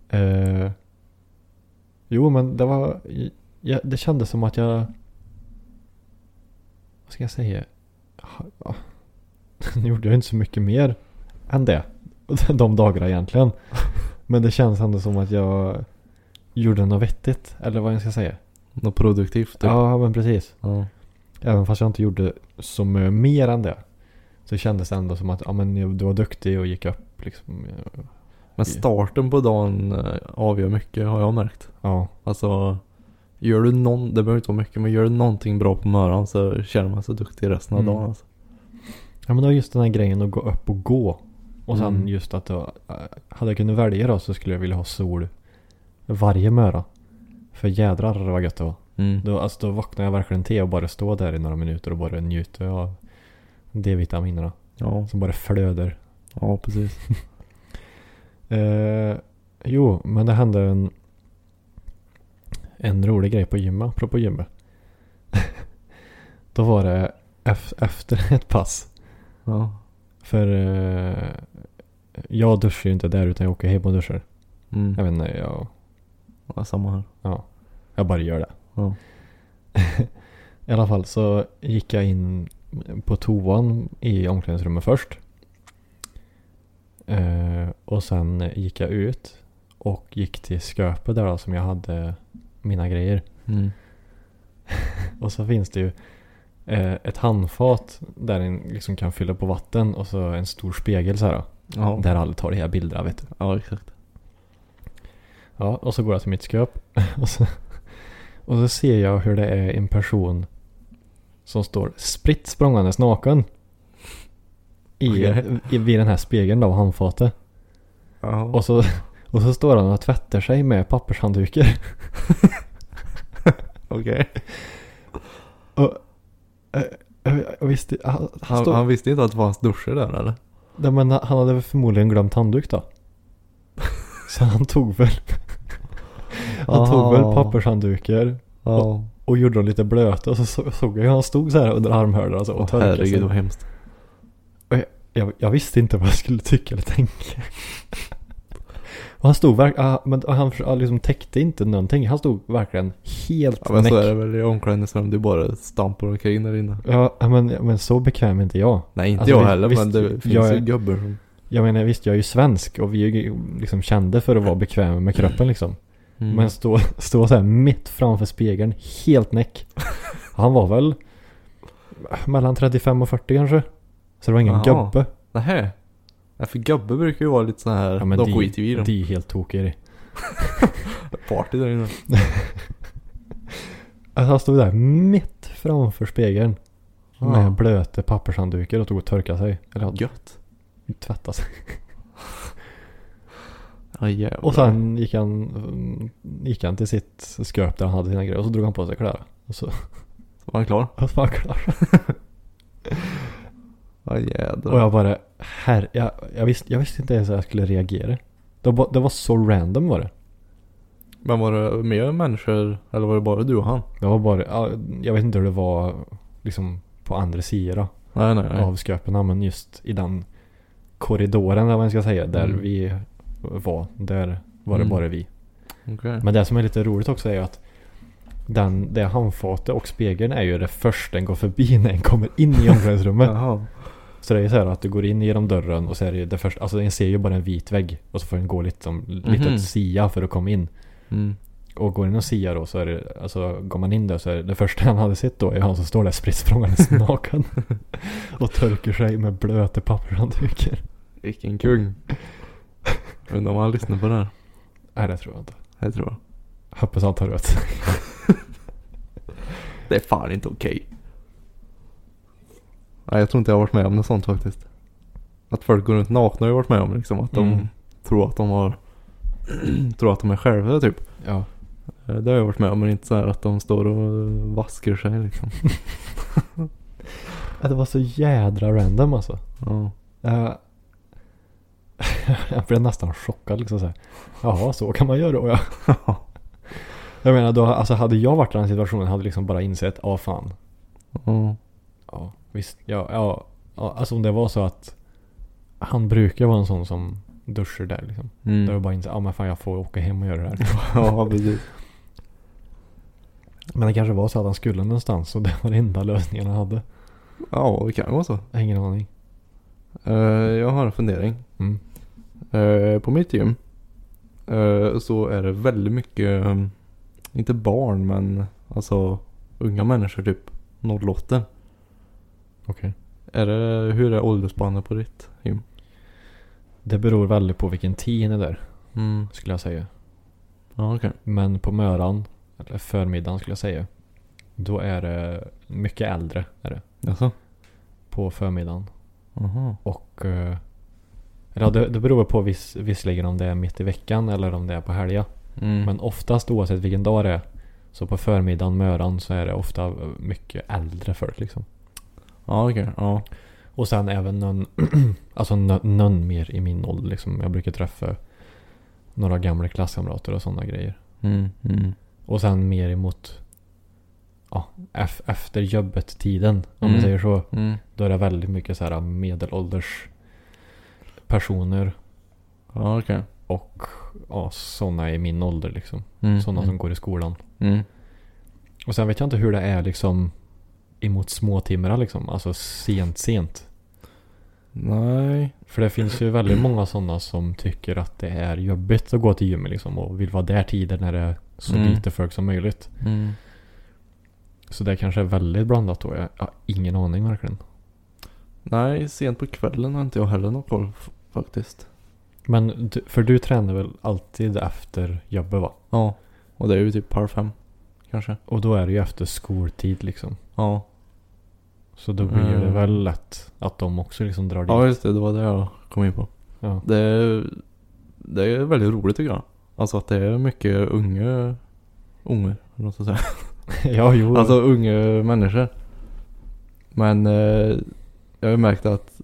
S1: Eh, jo, men det var... Ja, det kändes som att jag... Vad ska jag säga? Ja, Nu gjorde jag inte så mycket mer än det. De dagarna egentligen. Men det känns ändå som att jag gjorde något vettigt. Eller vad jag ska säga.
S2: Något produktivt. typ.
S1: Ja, men precis.
S2: Ja.
S1: Även fast jag inte gjorde så mycket mer än det. Så kändes det ändå som att ja, men du var duktig och gick upp. Liksom.
S2: Men starten på dagen eh, avgör mycket har jag märkt.
S1: Ja,
S2: Alltså. Gör du någon, det behöver inte vara mycket, men gör du någonting bra på morgonen så känner man sig duktig resten av
S1: Mm.
S2: dagen alltså.
S1: Ja men det var just den här grejen att gå upp och gå. Och sen
S2: Mm.
S1: just att det var, eh, hade jag kunnat välja då så skulle jag vilja ha sol varje morgon. För jädrar vad gött det var.
S2: Mm.
S1: Då, alltså, då vaknade jag verkligen till och bara stå där i några minuter och bara njuta av D-vitaminerna
S2: Ja.
S1: som bara flöder.
S2: ja, precis.
S1: Eh, jo, men det hände en, en rolig grej på gymmet, apropå gymmet. då var det ef- efter ett pass.
S2: Ja.
S1: För eh, jag duschar ju inte där utan jag åker hem och duschar.
S2: Mm.
S1: Jag vet inte, jag,
S2: Ja, samma här.
S1: jag bara gör det.
S2: Ja.
S1: I alla fall så gick jag in på toan i omklädningsrummet först. Eh, och sen gick jag ut och gick till sköpet där då, som jag hade mina grejer.
S2: Mm.
S1: Och så finns det ju eh, ett handfat där en liksom kan fylla på vatten och så en stor spegel så här. Då,
S2: Ja.
S1: Där alla tar de här bilderna vet du.
S2: ja, exakt.
S1: Ja, och så går jag till mitt skåp. Och så, och så ser jag hur det är en person som står spritt språngandes naken. I,
S2: Okej.
S1: i, vid den här spegeln då, handfatet.
S2: Ja.
S1: Och så, och så står han och tvättar sig med pappershanddukar.
S2: Okej.
S1: Och, eh, eh, jag visste, han, han,
S2: Han,
S1: stod,
S2: han visste inte att det fanns duscher där eller?
S1: Nej, men han hade väl förmodligen glömt handduk då. Så han tog väl, han tog väl
S2: Aha.
S1: pappershanddukar
S2: Ja.
S1: och gjorde dem lite blöta. Och så så- såg jag hur han stod så här under armhålorna så, och
S2: Åh
S1: torkade sig.
S2: herregud vad hemskt.
S1: jag, jag visste inte vad jag skulle tycka eller tänka. Och han stod verkligen, men han för- ah, liksom täckte inte någonting. Han stod verkligen helt
S2: Ja, men
S1: näck.
S2: så är det väl i omklädningsrum. Du bara stampar omkring där inne.
S1: Ja, men, men så bekväm är inte jag.
S2: Nej inte
S1: Alltså,
S2: jag
S1: vi-
S2: heller
S1: visst,
S2: men det finns
S1: jag är-
S2: ju gubbar som...
S1: Jag menar visst, jag är ju svensk och vi är ju liksom kända för att vara bekväma med kroppen liksom.
S2: Mm.
S1: Men stå, stå så här mitt framför spegeln, helt näck. Han var väl mellan 35 och 40 kanske. Så det var ingen
S2: Jaha.
S1: gubbe.
S2: Nähä? Ja, för gubbe brukar ju vara lite sån här,
S1: Ja,
S2: de
S1: men de,
S2: skiter ju i
S1: de.
S2: dem.
S1: är helt tokiga i det.
S2: Party där inne.
S1: Alltså, han stod där mitt framför spegeln.
S2: Ja.
S1: Med blöta pappershanddukar och tog och torkade sig. Eller ja,
S2: Gött.
S1: tvättade sig.
S2: Ja jävlar.
S1: Och sen gick han, mm, gick han till sitt sköp där han hade sina grejer och så drog han på sig kläder. Och så,
S2: Var han klar?
S1: och så var han klar.
S2: Ja jädrar.
S1: Och jag bara, herre, jag, jag, visste, jag visste inte ens hur jag skulle reagera. Det var, det var så random var det.
S2: Men var det mer människor eller var det bara du och han?
S1: Det var bara, ja, jag vet inte hur det var liksom på andra sidan
S2: Nej nej nej.
S1: av sköpen men just i den korridoren eller vad man ska säga, där
S2: Mm.
S1: vi var, där var det
S2: Mm.
S1: bara vi.
S2: Okej.
S1: Men det som är lite roligt också är ju att den, det handfatet och spegeln är ju det första en går förbi när en kommer in i omklädningsrummet.
S2: Jaha.
S1: Så det är ju så här att du går in genom dörren och så är det ju det första, alltså en ser ju bara en vit vägg och så får en gå lite som, lite
S2: Mhm.
S1: åt sia för att komma in.
S2: Mm.
S1: Och går in och sia då så är det, alltså går man in där så är det, det första han hade sett då är han som står där spritt språngandes naken. och torkar sig med blöta pappershanddukar.
S2: Vilken kung. Undrar om han lyssnar på det här.
S1: Nej det tror jag inte.
S2: Jag tror jag.
S1: Hoppas han tar rött.
S2: Det är fan inte okej. Nej jag tror inte jag har varit med om något sånt faktiskt. Att folk går runt nakna har jag varit med om liksom. Att de
S1: Mm.
S2: tror att de har... tror att de är själva typ.
S1: Ja.
S2: Eh, Det har jag varit med om men inte så här att de står och eh, vaskar sig liksom.
S1: Ja, Det var så jädra random alltså.
S2: Ja.
S1: Eh, jag blev nästan chockad liksom såhär. Jaha, så kan man göra och jag. jag menar då, alltså hade jag varit i den situationen hade jag liksom bara insett, ja fan.
S2: Ja.
S1: Ja, visst. Ja, ja, ja, alltså om det var så att han brukar vara en sån som duschar där liksom.
S2: Mm.
S1: Då har jag bara insett, ja men fan jag får åka hem och göra det här.
S2: ja precis.
S1: men det kanske var så att han skulle någonstans och det var den enda lösningen han hade.
S2: Ja det kan vara så.
S1: Jag har ingen aning.
S2: Eh, jag har en fundering.
S1: Mm.
S2: Eh, på mitt gym eh, så är det väldigt mycket, eh, inte barn men alltså unga människor typ 08.
S1: Okej.
S2: Är det, hur är åldersspannet på ditt gym?
S1: Det beror väldigt på vilken tid ni är där,
S2: Mm.
S1: skulle jag säga.
S2: Ja okej.
S1: Men på möran, eller förmiddagen skulle jag säga, då är det mycket äldre är det,
S2: Jaså?
S1: på förmiddagen.
S2: Jaha.
S1: Och eh, ja, det, det beror på viss, visserligen om det är mitt i veckan eller om det är på helga.
S2: Mm.
S1: Men oftast oavsett vilken dag det är, så på förmiddagen, möran, så är det ofta eh, mycket äldre folk liksom.
S2: Ja okej. Ja.
S1: Och sen även någon, alltså nå- någon mer i min ålder liksom. Jag brukar träffa några gamla klasskamrater och sådana grejer.
S2: Mm. Mm.
S1: Och sen mer emot ja, ef- efter jobbet-tiden, om man
S2: Mm.
S1: säger så.
S2: Mm.
S1: Då är det väldigt mycket så här medelålders personer
S2: Ja okej.
S1: och ja, sådana i min ålder liksom.
S2: Mm.
S1: Sådana
S2: mm.
S1: som går i skolan.
S2: Mm.
S1: Och sen vet jag inte hur det är liksom emot småtimmarna liksom, alltså sent sent.
S2: Nej.
S1: För det finns ju väldigt många sådana som tycker att det är jobbigt att gå till gymmet liksom och vill vara där tider när det är så
S2: Mm.
S1: lite folk som möjligt.
S2: Mm.
S1: Så det kanske är väldigt blandat då. Jag jag har ingen aning verkligen.
S2: Nej, sent på kvällen har inte jag heller någon koll f- faktiskt.
S1: Men du, för du tränar väl alltid efter jobbet va?
S2: Ja. Och det är ju typ par fem. Kanske.
S1: Och då är det ju efter skoltid liksom.
S2: Ja.
S1: Så då blir det
S2: Mm.
S1: väl lätt att de också liksom drar dit.
S2: Ja just det, det var det jag kom in på.
S1: Ja.
S2: Det är, det är väldigt roligt tycker jag. Alltså att det är mycket unga... Unga, låt jag säga.
S1: ja, jo.
S2: Alltså unga människor. Men eh, jag har ju märkt att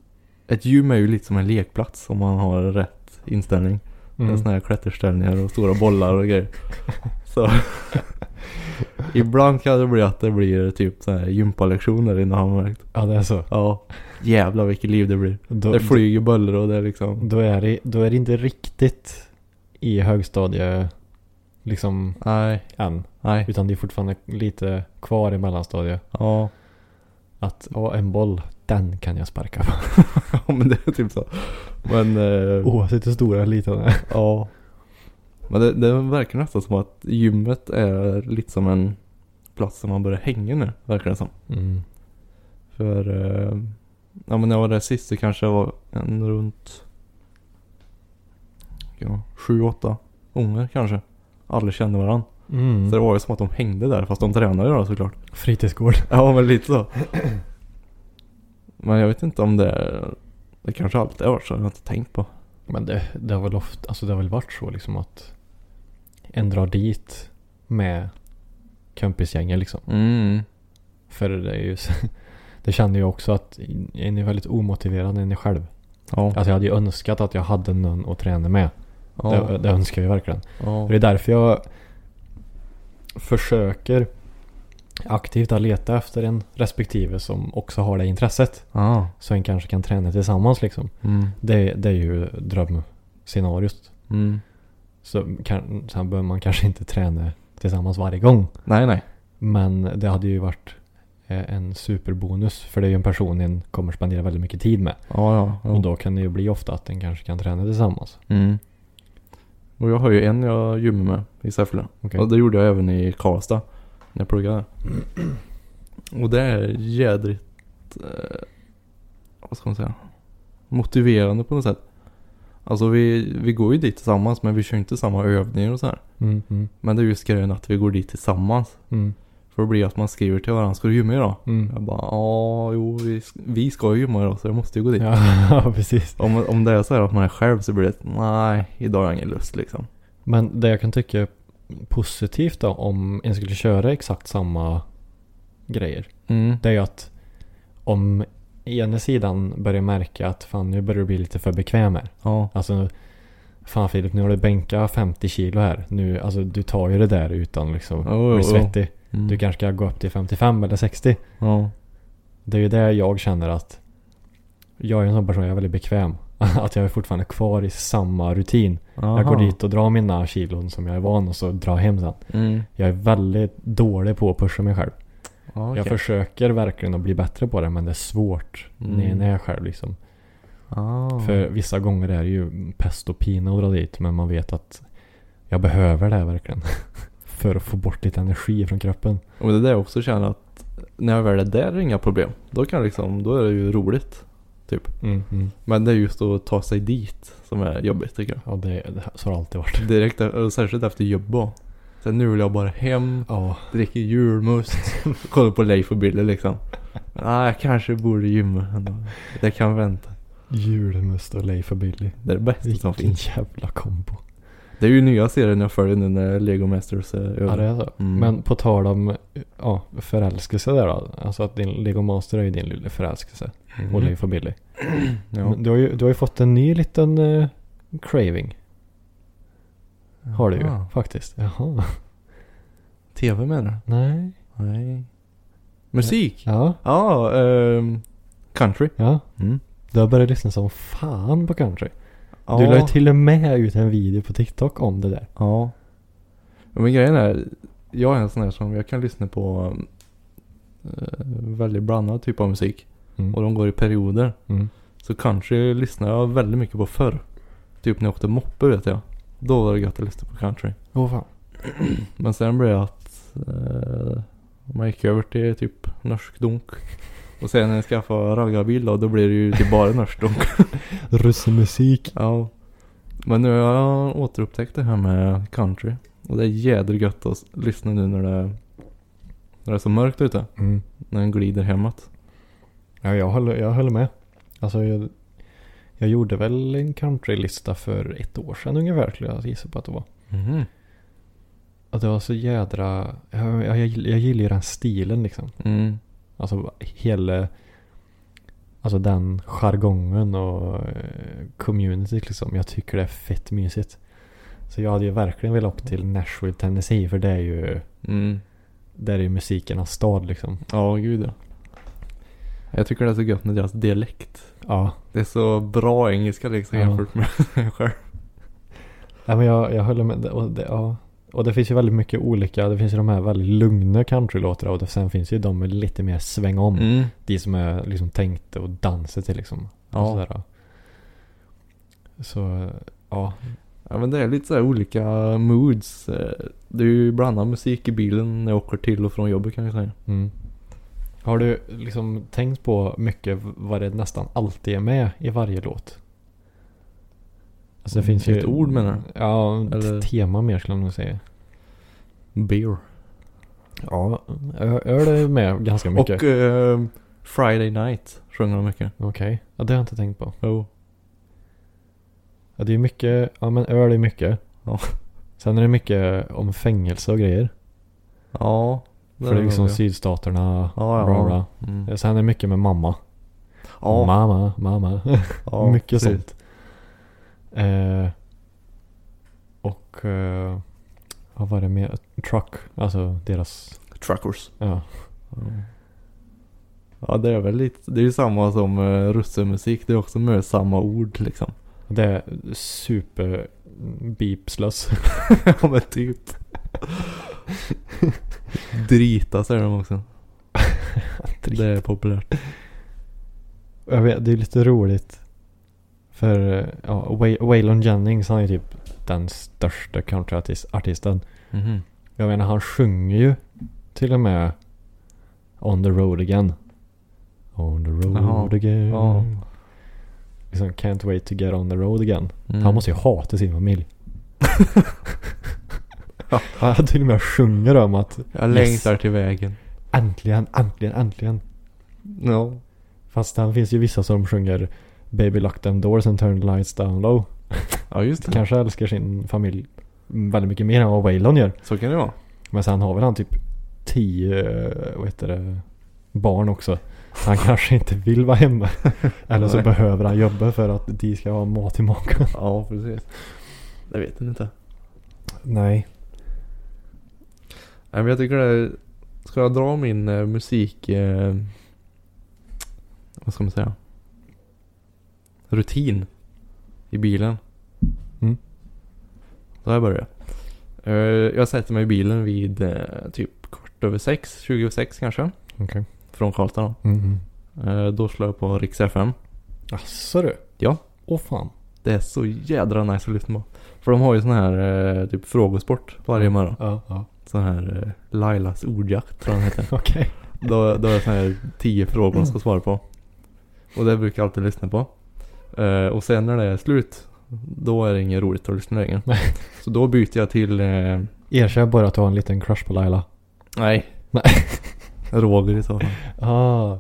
S2: ett gym är ju lite som en lekplats om man har rätt inställning.
S1: Mm.
S2: Det är såna här klätterställningar och stora bollar och grejer. Så ibland kan det bli att det blir typ så här gympalektioner innan han har märkt.
S1: Ja, det är så.
S2: Ja, jävlar vilket liv det blir.
S1: Då,
S2: Det flyger bollar och det är liksom...
S1: då, är det, då är det inte riktigt i högstadie liksom
S2: Nej,
S1: än.
S2: nej.
S1: Utan det är fortfarande lite kvar i mellanstadiet.
S2: Ja,
S1: Att ja, en boll, den kan jag sparka på.
S2: ja, men det är typ så. Men, eh,
S1: Oavsett hur stor eller liten den är.
S2: ja. Men det, det verkar nästan som att gymmet är lite som en plats där man börjar hänga nu, verkar det som.
S1: Mm.
S2: För, eh, ja men när jag var där sist så kanske jag var en runt mycket. va? Sju, åtta ungar kanske. Alla kände varandra.
S1: Mm.
S2: Så det var ju som att de hängde där fast de tränade ju då såklart.
S1: Fritidsgård.
S2: Ja men lite så. Men jag vet inte om det är... Det kanske alltid har varit så. Jag har inte tänkt på.
S1: Men det, det har väl ofta, alltså det har väl varit så liksom att en drar dit med kompisgängen liksom.
S2: Mm.
S1: För det är ju, så- det känner jag också att en är väldigt omotiverad när en är själv.
S2: Ja.
S1: Alltså jag hade ju önskat att jag hade någon att träna med. Det,
S2: Ja.
S1: det önskar jag ju verkligen.
S2: ja.
S1: Och det är därför jag försöker aktivt att leta efter en respektive som också har det intresset.
S2: ja.
S1: Så en kanske kan träna tillsammans liksom.
S2: Ah. Mm.
S1: Det, det är ju drömscenariot.
S2: Mm.
S1: Så kan, sen behöver man kanske inte träna tillsammans varje gång.
S2: Nej nej.
S1: Men det hade ju varit eh, en superbonus. För det är ju en person en kommer spendera väldigt mycket tid med.
S2: Ja ja. ja.
S1: Och då kan det ju bli ofta att en kanske kan träna tillsammans.
S2: Mm. Och jag har ju en jag gymmar med i Säffle.
S1: Okej.
S2: Och det gjorde jag även i Karlstad. När jag pluggade där. Och det är jädrigt... Eh, vad ska man säga? Motiverande på något sätt. Alltså vi, vi går ju dit tillsammans men vi kör inte samma övningar och så här.
S1: Mm, mm,
S2: Men det är just grejen att vi går dit tillsammans.
S1: mm,
S2: För det blir att man skriver till varandra. Ska du gymma idag?
S1: mm.
S2: Jag bara ja, jo vi, sk- vi ska ju gymma idag så jag måste ju gå dit.
S1: Ja, precis.
S2: Om, om det är så här att man är själv så blir det nej, idag har jag ingen lust liksom.
S1: Men det jag kan tycka är positivt då om en skulle köra exakt samma grejer.
S2: Mm.
S1: Det är ju att om ena sidan börjar märka att fan nu börjar du bli lite för bekväm här.
S2: Ja.
S1: Alltså fan Filip nu har du bänkat 50 kilo här. Nu, alltså du tar ju det där utan liksom
S2: Jo, jo,
S1: bli
S2: jo.
S1: svettig.
S2: Mm.
S1: Du kanske ska gå upp till 55 eller 60.
S2: Ja.
S1: Det är ju det jag känner att jag är en sån person, jag är väldigt bekväm. Att jag är fortfarande kvar i samma rutin. Jag går
S2: Aha.
S1: dit och drar mina kilon som jag är van och så drar hem sen.
S2: Mm.
S1: Jag är väldigt dålig på att pusha mig själv.
S2: Ja, okej.
S1: Jag försöker verkligen att bli bättre på det men det är svårt när
S2: Mm.
S1: när jag är själv liksom.
S2: ah.
S1: För vissa gånger är det ju pest och pina att dra dit men man vet att jag behöver det här verkligen. För att få bort lite energi från kroppen.
S2: Och det är det jag också känner att när jag väl är där är det inga problem. Då kan jag liksom, då är det ju roligt.
S1: Mm, mm.
S2: Men det är just att ta sig dit som är jobbigt tycker
S1: Ja, det, det, så har det alltid varit.
S2: jag. Direkt, e- och särskilt efter jobba. Sen nu vill jag bara hem,
S1: Ja,
S2: dricka julmust, kolla på Leif och Billy liksom. Nej, jag kanske borde gymma ändå. Det kan vänta.
S1: julmust och Leif och Billy.
S2: Det är det bästa som
S1: Vilken
S2: finns.
S1: jävla kombo.
S2: Det är ju nya serien jag följer nu när Lego Masters är
S1: Ja, det
S2: över.
S1: är så.
S2: Mm.
S1: Men på tal om ja, förälskelse där då. Alltså att din Lego Master är ju din lilla förälskelse. Och Leif och Billy.
S2: Ja.
S1: Men Du, har ju, du har ju fått en ny liten eh, craving. Har du ju
S2: Ah.
S1: faktiskt. Jaha.
S2: TV menar du?
S1: Nej.
S2: Nej. Musik?
S1: Ja.
S2: Ja, ehm, country.
S1: Ja.
S2: Mm.
S1: Du har börjat lyssna som fan på country.
S2: Ja,
S1: Du la ju till och med ut en video på TikTok om det där.
S2: Ja. Men grejen är, jag är en sån här som jag kan lyssna på eh, väldigt blandad typ av musik.
S1: Mm.
S2: Och de går i perioder.
S1: Mm.
S2: Så country lyssnade jag väldigt mycket på förr. Typ när jag åkte moppe vet jag. Då var det gött att lyssna på country.
S1: Åh fan.
S2: Men sen blev det att eh, man gick över till typ norsk dunk. Och sen när jag skaffade raggarbil då, då blir det ju typ bara norsk dunk.
S1: Russemusik.
S2: Ja. Men nu har jag återupptäckt det här med country. Och det är jädrigt gött att lyssna nu när det, när det är så mörkt ute.
S1: Mm.
S2: När den glider hemåt.
S1: Ja, jag höll, jag höll med. Alltså jag, jag gjorde väl en countrylista för ett år sedan ungefär skulle jag gissa på att det var. Mhm.
S2: Mm.
S1: Och det var så jädra... Jag, jag, jag gillar ju den stilen liksom.
S2: Mm.
S1: Alltså hela... Alltså den jargongen och eh, communityt liksom. Jag tycker det är fett mysigt. Så jag hade ju verkligen velat upp till Nashville, Tennessee. För det är ju...
S2: Mm.
S1: Där är ju musikernas stad liksom.
S2: Ja, gud ja. Jag tycker det är så gött med deras dialekt.
S1: Ja.
S2: Det är så bra engelska liksom
S1: Ja.
S2: jämfört med själv.
S1: Nej, men jag, jag håller med. Det- Och det, ja. och det finns ju väldigt mycket olika. Det finns ju de här väldigt lugna countrylåtarna. Och det- sen finns ju de med lite mer sväng om.
S2: Mm.
S1: De som är liksom tänkte och dansa till liksom.
S2: Ja.
S1: Och sådär, ja. Så ja.
S2: Ja men det är lite så här olika moods. Eh, Det är ju blandad musik i bilen när jag åker till och från jobbet kan jag säga.
S1: Mm. Har du liksom tänkt på mycket vad det nästan alltid är med i varje låt? Alltså det finns ju...
S2: Ett ord menar du?
S1: Ja,
S2: Eller-
S1: ett tema mer skulle jag nog säga.
S2: Beer.
S1: Ja, ö- öl är med ganska mycket.
S2: Och eh, Friday Night sjunger de mycket.
S1: Okej. Ja, det har jag inte tänkt på.
S2: Jo.
S1: Ja, det är mycket... Ja, men öl är mycket.
S2: Ja.
S1: Sen är det mycket om fängelse och grejer.
S2: Ja.
S1: För det är liksom
S2: nog jag.
S1: sydstaterna,
S2: Ja, ja.
S1: bla bla.
S2: Mm.
S1: Sen är det mycket med mamma.
S2: Ja,
S1: Mamma, mamma.
S2: ja,
S1: mycket
S2: precis.
S1: sånt. Eh, och... Eh, vad var det mer? Truck. Alltså deras...
S2: Truckers.
S1: Ja.
S2: Ja, det är väl lite. Det är ju samma som uh, russemusik. Det är också med samma ord liksom.
S1: Det är super beepslös.
S2: ja, men typ. Drita säger de också. Det är populärt.
S1: Jag vet, det är lite roligt. För eh, ja, Way- Waylon Jennings han är typ den största countryartisten.
S2: Mhm.
S1: Jag menar han sjunger ju till och med On the road again. On the road
S2: Jaha,
S1: again.
S2: ja.
S1: Liksom, can't wait to get on the road again.
S2: Mm.
S1: Han måste ju hata sin familj. Han till och med sjunger om att
S2: Jag längtar till vägen.
S1: äntligen, äntligen, äntligen.
S2: Ja.
S1: Fast det finns ju vissa som sjunger Baby lock them doors and turn the lights down low.
S2: Mm. Ja, just det.
S1: Kanske älskar sin familj väldigt mycket mer än vad Waylon gör.
S2: Så kan det vara.
S1: Men sen har väl han typ tio, eh, vad heter det, barn också. Han kanske inte vill vara hemma. Eller så
S2: Nej.
S1: behöver han jobba för att de ska ha mat i magen.
S2: Ja, precis. Jag vet inte.
S1: Nej.
S2: Nej, men jag tycker det är, Ska jag dra min eh, musik... Eh, vad ska man säga? Rutin. I bilen.
S1: Mm.
S2: Så här börjar jag. Eh, jag sätter mig i bilen vid eh, typ kvart över sex, 20 över sex kanske.
S1: Okej. Okay.
S2: Från Karlstad då. Eh, då slår jag på Rix FM.
S1: Jaså du?
S2: Ja.
S1: Åh fan.
S2: Det är så jädra nice att lyssna på. För de har ju sån här eh, typ frågesport varje morgon.
S1: Ja, ja.
S2: Sån här eh, Lailas ordjakt tror jag den heter.
S1: Okej.
S2: Då, då är det såna här tio frågor
S1: Mm.
S2: man ska svara på. Och det brukar jag alltid lyssna på. Eh, och sen när det är slut, då är det inget roligt att lyssna längre. Så då byter jag till, eh,
S1: Erkänn bara att du har en liten crush på Laila.
S2: nej.
S1: Nej.
S2: Roger i så fall.
S1: Ah,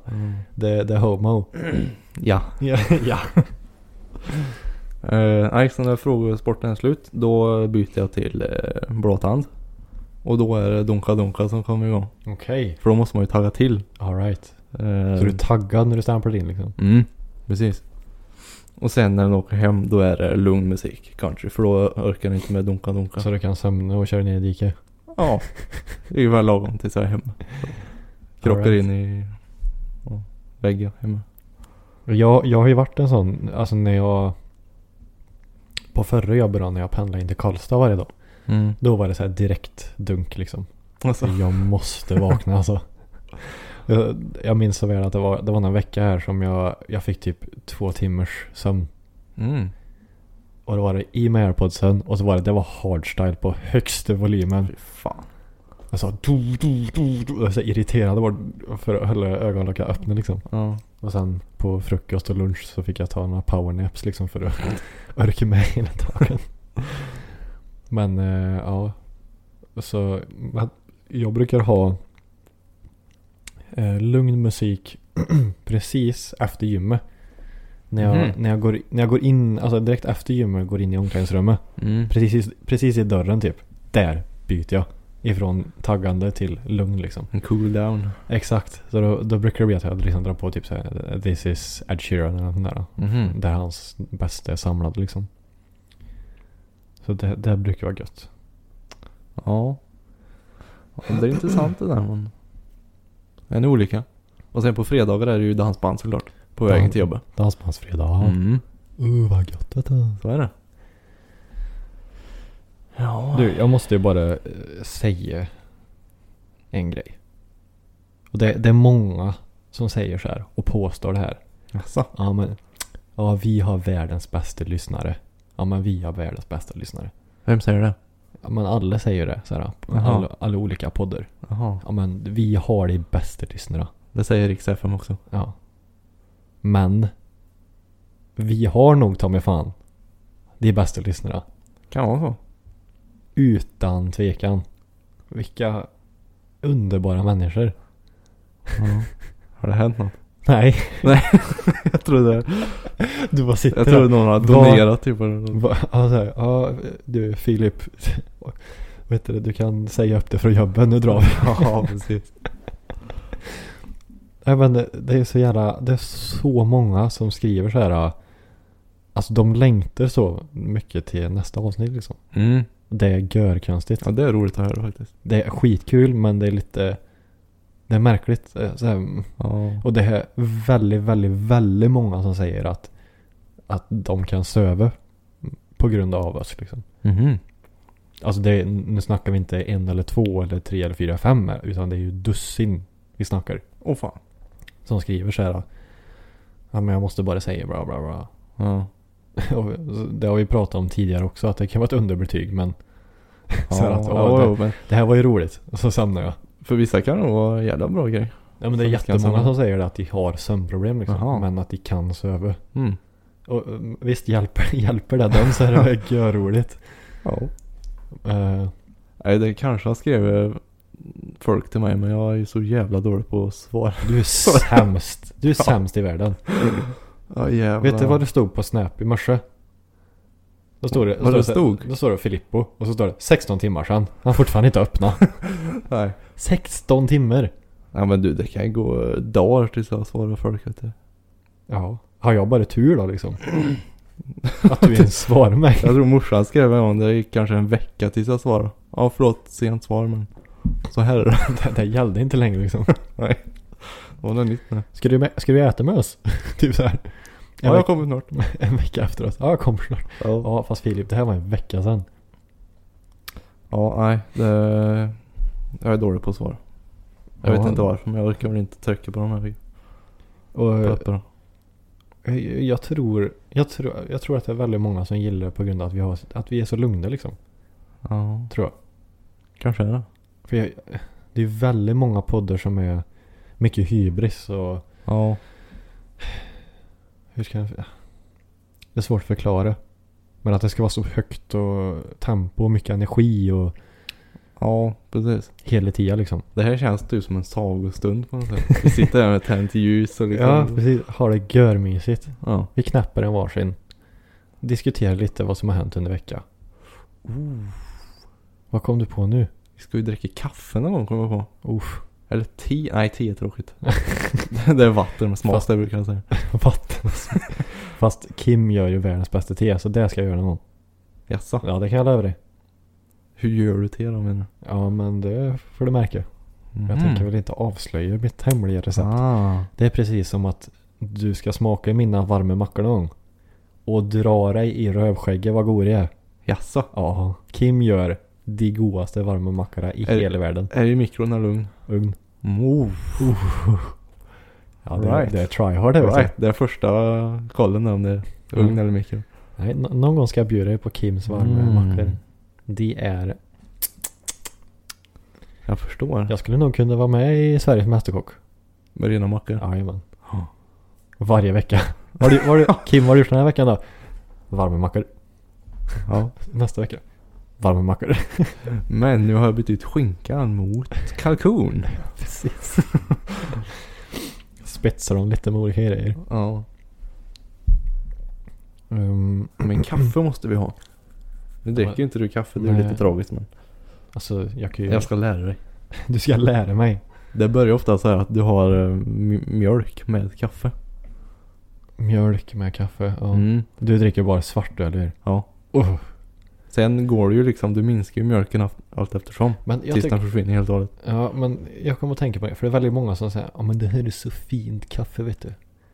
S1: det, det är homo.
S2: Ja.
S1: Ja. ja.
S2: Eh, nej, så när frågesporten är slut, då byter jag till eh, blåtand. Och då är det Donka Donka som kommer igång.
S1: Okej.
S2: För då måste man ju tagga till.
S1: Alright.
S2: Eh,
S1: Så du är taggad när du stampar in liksom?
S2: Mm, precis. Och sen när den åker hem då är det lugn musik country för då orkar den inte med Donka Donka.
S1: Så du kan sömna och köra ner i diket?
S2: Ja, det är ju bara lagom tills jag är hemma. Krockar
S1: Alright.
S2: in i ja, väggen hemma.
S1: Jag, jag har ju varit en sån, alltså när jag... På förra jobbet då, när jag pendlade in till Karlstad varje dag.
S2: Mm.
S1: Då var det så här direkt dunk liksom.
S2: Alltså,
S1: Jag måste vakna alltså. Jag, jag minns så väl att det var, det var någon vecka här som jag, jag fick typ två timmars sömn.
S2: mm.
S1: Och då var det i med airpodsen och så var det, det var hardstyle på högsta volymen.
S2: Fy fan.
S1: Jag sa do, do, do, do. Jag var så irriterad och bara- för att hålla ögonlocken öppna liksom.
S2: Ja.
S1: Och sen på frukost och lunch så fick jag ta några powernaps liksom för att orka med hela dagen. Men eh, ja. Så men jag brukar ha eh, lugn musik precis efter gymmet. När jag,
S2: Mhm.
S1: när, jag går, när jag går in, alltså direkt efter gymmet går in i omklädningsrummet.
S2: Mm.
S1: Precis, i- precis i dörren typ. Där byter jag. Ifrån taggande till lugn liksom.
S2: En cool down.
S1: Exakt, så då, då brukar det bli att jag liksom drar på typ såhär This is Ed Sheeran eller något där.
S2: Mhm.
S1: Där hans bästa är samlad liksom. Så det, det brukar vara gött.
S2: Ja. ja. Det är intressant det där men. En olika. Och sen på fredagar är det ju dansband såklart. På vägen till jobbet.
S1: Dansbandsfredag.
S2: Mm.
S1: Uh, vad gött detta.
S2: Så är det. Ja.
S1: Du, jag måste ju bara eh, säga en grej. Och det, det är många som säger så här och påstår det här.
S2: Jaså?
S1: Ja men, ja vi har världens bästa lyssnare. Ja men vi har världens bästa lyssnare.
S2: Vem säger det?
S1: Ja, men alla säger det så här.
S2: Jaha.
S1: Alla, alla olika poddar.
S2: Jaha.
S1: Ja men vi har de bästa lyssnarna.
S2: Det säger Rix FM också.
S1: Ja. Men. Vi har nog ta mig fan. de bästa lyssnarna.
S2: Kan vara så.
S1: Utan tvekan. Vilka underbara människor.
S2: Har det hänt något?
S1: Nej,
S2: Jag trodde,
S1: du bara sitter
S2: jag trodde någon hade
S1: Vad-
S2: donerat typ eller något.
S1: Va- Alltså, ja, du Filip. Vet du, du kan säga upp det från jobben, nu drar vi.
S2: Ja, precis.
S1: Nej men det- det är så jävla, det är så många som skriver så här. äh, Alltså de längtar så mycket till nästa avsnitt liksom.
S2: Mm.
S1: Det är görkonstigt.
S2: Ja, det är roligt att höra faktiskt.
S1: Det är skitkul men det är lite, det är märkligt. eh, Så här,
S2: Ja.
S1: och det är väldigt, väldigt, väldigt många som säger att, att de kan söva på grund av oss liksom.
S2: Mhm.
S1: Alltså det, nu snackar vi inte en eller två eller tre eller fyra, fem här, utan det är ju dussin vi snackar.
S2: Åh fan.
S1: Som skriver så här. Ja men jag måste bara säga bra bra bra.
S2: Ja.
S1: Och Det har vi pratat om tidigare också att det kan vara ett underbetyg men Så att,
S2: ja,
S1: åh,
S2: ja,
S1: det-
S2: jo, men
S1: det här var ju roligt. Och så somnade jag.
S2: för vissa kan det vara en jävla bra grej.
S1: Ja men det är
S2: Så vi kan
S1: jättemånga
S2: somna.
S1: som säger det att de har sömnproblem liksom.
S2: Jaha.
S1: Men att de kan söva.
S2: Mm.
S1: Och mm, visst hjälper, hjälper det dem så är det görroligt.
S2: Ja.
S1: Uh,
S2: Nej, det kanske har skrivit folk till mig, men jag är ju så jävla dålig på att svara.
S1: du är sämst. Du är sämst i världen.
S2: Ja, jävlar.
S1: Vet du vad det stod på Snap i morse? Då står det,
S2: Vad det
S1: så-
S2: stod?
S1: Då står det Filippo och så står det 16 timmar sedan. Han har fortfarande inte öppnat.
S2: Nej.
S1: 16 timmar!
S2: Ja, men du, det kan ju gå dagar tills jag svarar folk, vet du.
S1: Ja. Har jag bara tur då liksom? Att du ens svarar mig.
S2: Jag tror morsan skrev en gång, det gick kanske en vecka tills jag svarade. Ja, förlåt, sent svar, men så här är det.
S1: Det, det gällde inte längre liksom.
S2: Och det är nytt nu.
S1: Ska du, med, ska du äta med oss? typ så här. En,
S2: Ja, jag
S1: veck-
S2: kommer snart.
S1: en vecka efteråt. Ja, jag kommer snart.
S2: Ja,
S1: Ja, fast Filip, det här var en vecka sedan.
S2: ja nej, det... Jag är dålig på att svara. Jag vet
S1: Ja. Eh,
S2: inte varför, men jag orkar väl inte trycka på de här
S1: Och
S2: papperna.
S1: jag, jag, tror, jag, tror, jag tror att det är väldigt många som gillar det på grund av att vi, har, att vi är så lugna liksom.
S2: Ja,
S1: Tror jag.
S2: kanske är det.
S1: För jag, det är väldigt många poddar som är mycket hybris och
S2: Ja,
S1: hur ska jag... Det är svårt att förklara. Men att det ska vara så högt och tempo och mycket energi och
S2: ja precis.
S1: hela tiden liksom.
S2: Det här känns typ som en sagostund på något sätt. Vi sitter här med tänt ljus och liksom.
S1: Ja, precis. Har det görmysigt.
S2: ja.
S1: Vi knäpper en varsin. Diskuterar lite vad som har hänt under veckan. Vad kom du på nu?
S2: Vi ska ju dricka kaffe någon gång kommer jag på.
S1: Uff,
S2: Eller te. Nej, te är tråkigt. det är vatten med smak det brukar jag säga.
S1: vatten. Fast Kim gör ju världens bästa te, så det ska jag göra någon.
S2: Jaså?
S1: Ja, det kan jag lova dig.
S2: Hur gör du te då menar
S1: Ja, men det får du märka.
S2: du? Mm.
S1: Jag tänker väl inte avslöja mitt hemliga recept.
S2: Ah.
S1: Det är precis som att du ska smaka mina varma mackor någon gång. Och dra dig i rövskägget vad god det är.
S2: Jaså?
S1: Ja, Kim gör de godaste varma mackorna i
S2: Är-
S1: hela världen.
S2: Är det i mikron eller ugn?
S1: Ugn.
S2: Oh,
S1: Ja, det,
S2: Right.
S1: det är tryhard det vet
S2: right. Det är första kollen där om det är ugn
S1: Mm.
S2: eller mikron.
S1: du. Nej, nå- någon gång ska jag bjuda dig på Kims varma
S2: Mm.
S1: mackor. De är...
S2: Jag förstår.
S1: Jag skulle nog kunna vara med i Sveriges Mästerkock.
S2: Med rena mackor.
S1: Jajamän.
S2: Ja.
S1: Varje vecka. Vad har du- vad har du- Kim, vad har du gjort den här veckan då? Varma mackor.
S2: Ja.
S1: Nästa vecka. Varma mackor.
S2: Men nu har jag bytt ut skinkan mot kalkon.
S1: Precis. Spetsar dem lite med olika grejer.
S2: Ja.
S1: Um,
S2: Men kaffe måste vi ha. Nu dricker ju inte du kaffe, det är ju
S1: Nej.
S2: lite tragiskt men.
S1: alltså, jag kan ju...
S2: Jag ska lära dig.
S1: Du ska lära mig.
S2: Det börjar ofta så här att du har eh, mj- mjölk med kaffe.
S1: Mjölk med kaffe. Ja.
S2: Mm.
S1: Du dricker bara svart eller hur?
S2: Ja.
S1: Oh.
S2: Sen går det ju liksom, du minskar ju mjölken allt, allt eftersom.
S1: Men jag
S2: tills
S1: tycker-
S2: den försvinner helt och hållet.
S1: Ja, men jag kommer att tänka på det. För det är väldigt många som säger ja men det här är så fint kaffe vet du.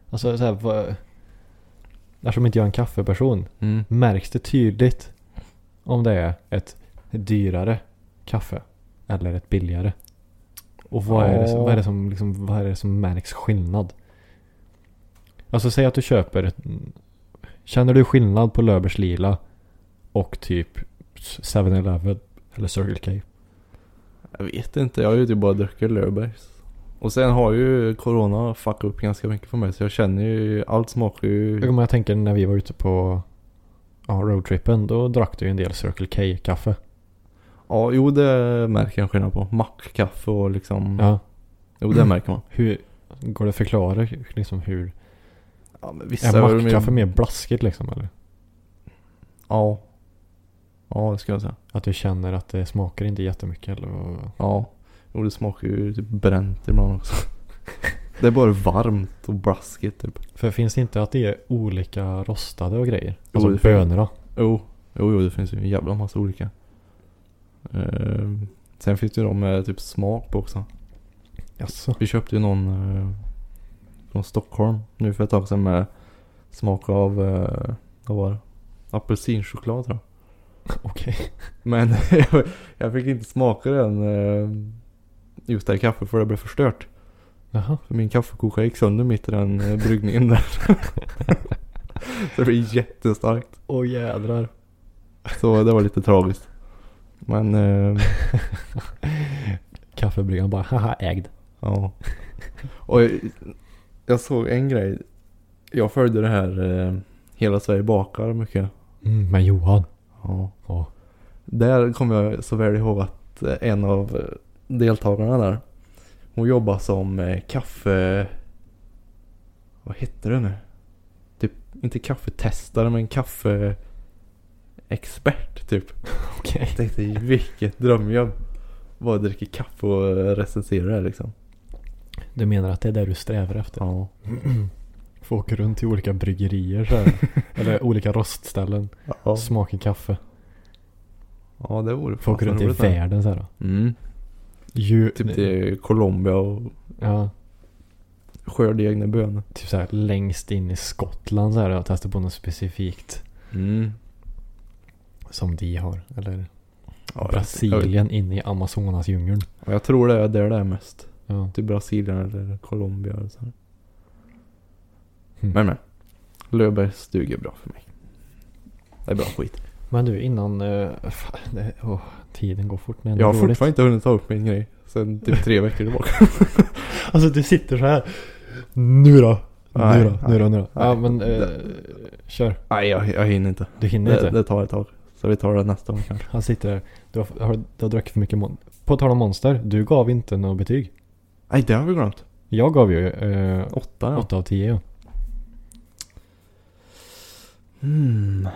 S1: Alltså så här, vad... Eftersom inte jag är en kaffeperson
S2: Mm.
S1: märks det tydligt om det är ett dyrare kaffe eller ett billigare. Och vad, är, det som,
S2: Ja.
S1: vad, är, det som, liksom, vad är det som märks skillnad? Alltså säg att du köper ett, Känner du skillnad på Löfbergs Lila och typ 7-Eleven eller Circle K?
S2: Jag vet inte, jag har ju typ bara druckit Löfbergs. Och sen har ju Corona fuckat upp ganska mycket för mig så jag känner ju, allt smakar ju...
S1: Jag kommer att tänka när vi var ute på ja, roadtrippen, då drack du ju en del Circle K-kaffe.
S2: Ja, jo det märker jag skillnad på. Mackkaffe och liksom.
S1: Ja.
S2: Jo det märker man.
S1: Hur, går det att förklara liksom hur?
S2: Ja, men vissa
S1: Är
S2: öl med-
S1: mackkaffe mer blaskigt liksom eller?
S2: Ja. Ja, det ska jag säga.
S1: Att du känner att det smakar inte jättemycket eller? vad-
S2: Ja. Jo, det smakar ju typ bränt ibland också. det är bara varmt och blaskigt typ.
S1: För finns det inte att det är olika rostade och grejer?
S2: Jo,
S1: Alltså
S2: det finns.
S1: bönor då?
S2: Jo, jo, jo det finns ju en jävla massa olika. Eh, sen finns det ju de med typ smak på också.
S1: Jaså?
S2: Vi köpte ju någon eh, från Stockholm nu för ett tag sedan med smak av, eh, vad var det? Apelsinchoklad tror jag.
S1: Okej.
S2: Men jag- jag fick inte smaka den eh, just det här kaffet för det blev förstört.
S1: Jaha.
S2: För min kaffekoka gick sönder mitt i den eh, bryggningen där. Så det blev jättestarkt.
S1: Åh jädrar.
S2: Så det var lite tragiskt. Men eh,
S1: Kaffebryggaren bara haha ägd.
S2: ja. Och jag, jag såg en grej. Jag följde det här eh, Hela Sverige bakar mycket.
S1: Mm, men Johan.
S2: Ja.
S1: Ja.
S2: Där kommer jag så väl ihåg att eh, en av eh, deltagarna där. Hon jobbar som eh, kaffe... Vad hette det nu? Typ, inte kaffetestare men kaffeexpert typ.
S1: Okej.
S2: Jag tänkte vilket drömjobb. Bara dricker kaffe och recenserar det här, liksom.
S1: Du menar att det är det du strävar efter?
S2: Ja.
S1: Få åka runt till olika bryggerier så här. Eller olika rostställen.
S2: Ja,
S1: Smaka kaffe.
S2: ja det vore
S1: Få åka
S2: fasen
S1: runt i
S2: roligt, det.
S1: världen så här. då.
S2: Mm.
S1: Ju,
S2: Typ till Colombia och
S1: Ja.
S2: skörda egna bönor.
S1: Typ så här längst in i Skottland så här. Och testa på något specifikt.
S2: Mm.
S1: Som de har. Eller
S2: Ja, jag vet- jag vet-
S1: Brasilien in i Amazonas djungeln.
S2: Ja, Jag tror det är där det är mest.
S1: Ja. Hm.
S2: Typ Brasilien eller Colombia eller så. här.
S1: Mm.
S2: Men men. Löfbergs stuga är bra för mig. Det är bra skit.
S1: Men du innan... eh, fan, det, åh, tiden går fort när det
S2: Jag har
S1: är roligt.
S2: fortfarande inte hunnit ta upp min grej. Sen typ tre veckor tillbaka.
S1: Alltså du sitter så här. Nu då.
S2: Nej,
S1: nu då, nu då, nu då. Ja
S2: nej.
S1: men eh, kör.
S2: Nej jag, jag hinner inte.
S1: Du hinner
S2: Det,
S1: inte.
S2: det tar ett tag. Så vi tar det nästa gång kanske.
S1: Han sitter där. Du har, har, du har druckit för mycket mon- På tal om monster, du gav inte något betyg.
S2: Nej det har vi glömt.
S1: Jag gav ju eh,
S2: Åtta ja.
S1: 8 av 10. ja.
S2: Mm.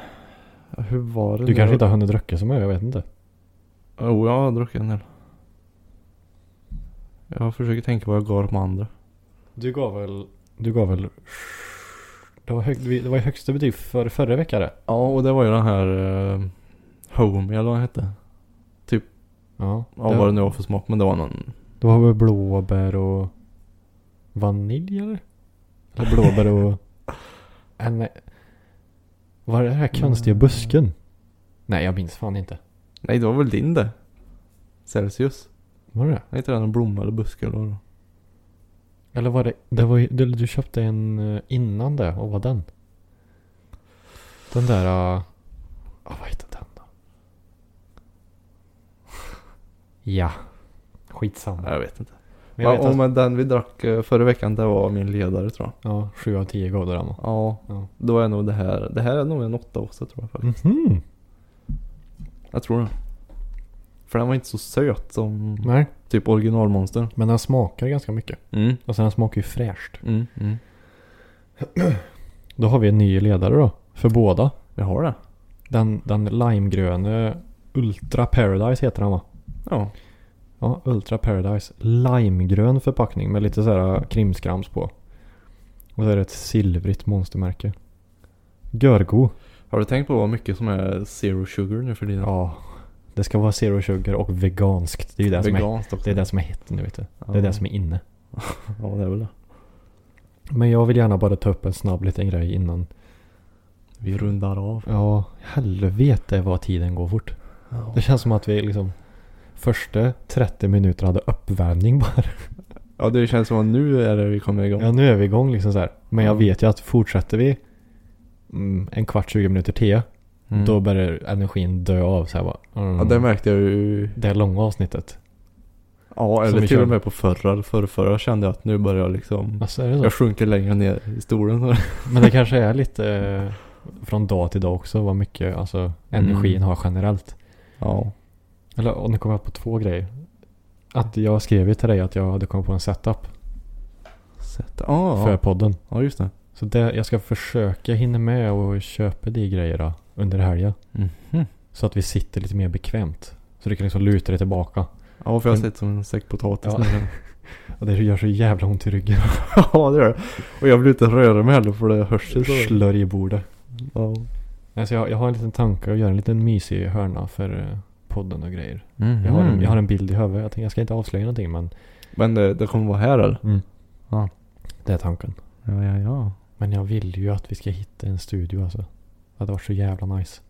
S2: Hur var det
S1: Du
S2: nu?
S1: kanske inte har hunnit dricka så mycket, jag vet inte.
S2: Jo jag har druckit en del. Jag försöker tänka vad jag gav de andra.
S1: Du gav väl... Du gav väl... Det var, hög, vi- det var ju högsta betyg för förra veckan det.
S2: Ja och det var ju den här uh, Home eller vad den hette.
S1: Ja.
S2: Ja
S1: det,
S2: vad det nu var för smak men det var någon
S1: det var väl blåbär och... Vanilj eller? Eller blåbär och... Äh, nej. Var det den här konstiga busken? Nej, jag minns fan inte.
S2: Nej, det var väl din det? Celsius?
S1: Var det det?
S2: Är inte det någon blomma eller buske eller vadå?
S1: Eller var det, det var ju, du, du köpte en eh, innan det, och vad den? Den där, uh, vad hette den då? Ja, skitsamma.
S2: Nej, jag vet inte.
S1: Men jag
S2: ja,
S1: vet
S2: och
S1: att,
S2: men den vi drack eh, förra veckan, det var min ledare tror jag.
S1: ja, 7 av 10 gav du den va?
S2: Ja,
S1: Ja.
S2: då är nog det här, det här är nog en åtta också tror jag faktiskt.
S1: Mhm.
S2: Jag tror det. För den var inte så söt som
S1: Nej,
S2: typ originalmonster.
S1: men den smakar ganska mycket.
S2: Mm,
S1: Och sen den smakar ju fräscht.
S2: mm, mm.
S1: Då har vi en ny ledare då, för båda.
S2: Vi har det.
S1: Den, den limegröna Ultra Paradise heter den va?
S2: Ja.
S1: Ja, Ultra Paradise. Limegrön förpackning med lite så här äh, krimskrams på. Och så är det ett silvrigt monstermärke. Görgo.
S2: Har du tänkt på vad mycket som är zero sugar nu för tiden?
S1: Ja. Det ska vara zero sugar och veganskt. Det är ju det, som är,
S2: Veganskt också.
S1: det, är det som är hett nu vet du. Det
S2: Ja.
S1: är det som är inne.
S2: Ja, det är väl det.
S1: Men jag vill gärna bara ta upp en snabb liten grej innan.
S2: Vi rundar av.
S1: Ja, helvete vad tiden går fort.
S2: Ja.
S1: Det känns som att vi liksom första 30 minuter hade uppvärmning bara.
S2: Ja, det känns som att nu är det vi kommer igång.
S1: Ja, nu är vi igång liksom så här. Men jag
S2: Ja.
S1: vet ju att fortsätter vi mm, en kvart, 20 minuter till.
S2: Mm.
S1: Då börjar energin dö av så här bara. Mm.
S2: Ja, det märkte jag ju
S1: det långa avsnittet.
S2: Ja,
S1: Som vi
S2: eller till
S1: körde.
S2: och med på förra, förra, förra kände jag att nu börjar jag liksom...
S1: Alltså, är det så?
S2: Jag sjunker längre ner i stolen.
S1: Men det kanske är lite eh, från dag till dag också vad mycket alltså, energin
S2: Mm.
S1: har generellt.
S2: Ja.
S1: Eller och nu kom jag på två grejer. Att jag skrev ju till dig att jag hade kommit på en setup
S2: Sätta. Ah,
S1: för
S2: ja.
S1: podden.
S2: ja, just det.
S1: Så det, jag ska försöka hinna med och köpa de grejerna under helgen.
S2: Mhm.
S1: Så att vi sitter lite mer bekvämt. Så du kan liksom luta dig tillbaka.
S2: Ja, för jag har
S1: Men-
S2: sett som en säck potatis
S1: Ja.
S2: nu.
S1: Och det gör så jävla ont i ryggen.
S2: ja, det gör det. Och jag vill inte röra mig heller för det hörs ju så.
S1: Slör i bordet.
S2: Ja.
S1: Alltså jag, jag har en liten tanke att göra en liten mysig hörna för eh, podden och grejer.
S2: Mhm.
S1: Jag, har, en- jag har en bild i huvudet. Jag tänkte jag ska inte avslöja någonting men
S2: Men det, det kommer vara här eller?
S1: det är tanken.
S2: Ja, ja, ja.
S1: Men jag vill ju att vi ska hitta en studio alltså. Det hade varit så jävla nice.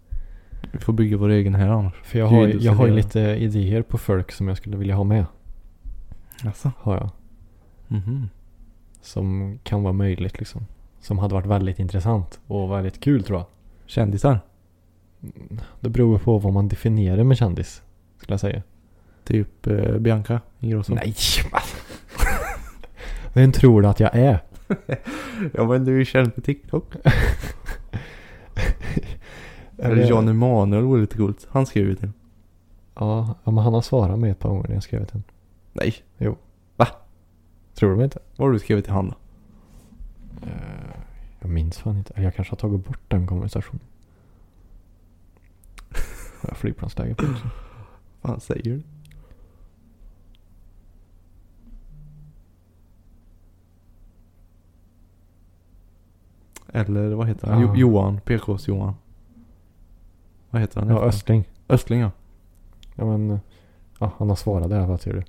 S2: Vi får bygga vår egen här annars.
S1: För jag
S2: Du är
S1: har, ju- jag har ju
S2: desillusionerad.
S1: lite idéer på folk som jag skulle vilja ha med.
S2: Jaså?
S1: Har jag.
S2: Mhm.
S1: Som kan vara möjligt liksom. Som hade varit väldigt intressant och väldigt kul tror jag.
S2: Kändisar?
S1: Det beror på vad man definierar med kändis. Skulle jag säga.
S2: Typ eh, Bianca Ingrosso?
S1: Nej man. Vem tror du att jag är?
S2: Ja men du är ju känd på TikTok.
S1: Eller-
S2: Eller Jan Emanuel vore lite coolt. Han skrev ju till.
S1: Ja, ja, men han har svarat mig ett par gånger när jag skrivit den.
S2: Nej.
S1: Tror du mig inte?
S2: Vad har du skrivit till han då?
S1: Jag minns fan inte. Jag kanske har tagit bort den konversationen. Har jag flygplansläge på också?
S2: Vad han säger du? Eller vad heter han?
S1: Ja.
S2: Jo, Johan. PKs Johan. Vad heter han? i
S1: Ja,
S2: efternamn?
S1: Östling.
S2: Östling ja.
S1: Ja, men ja, han har svarat det. Vad tror du?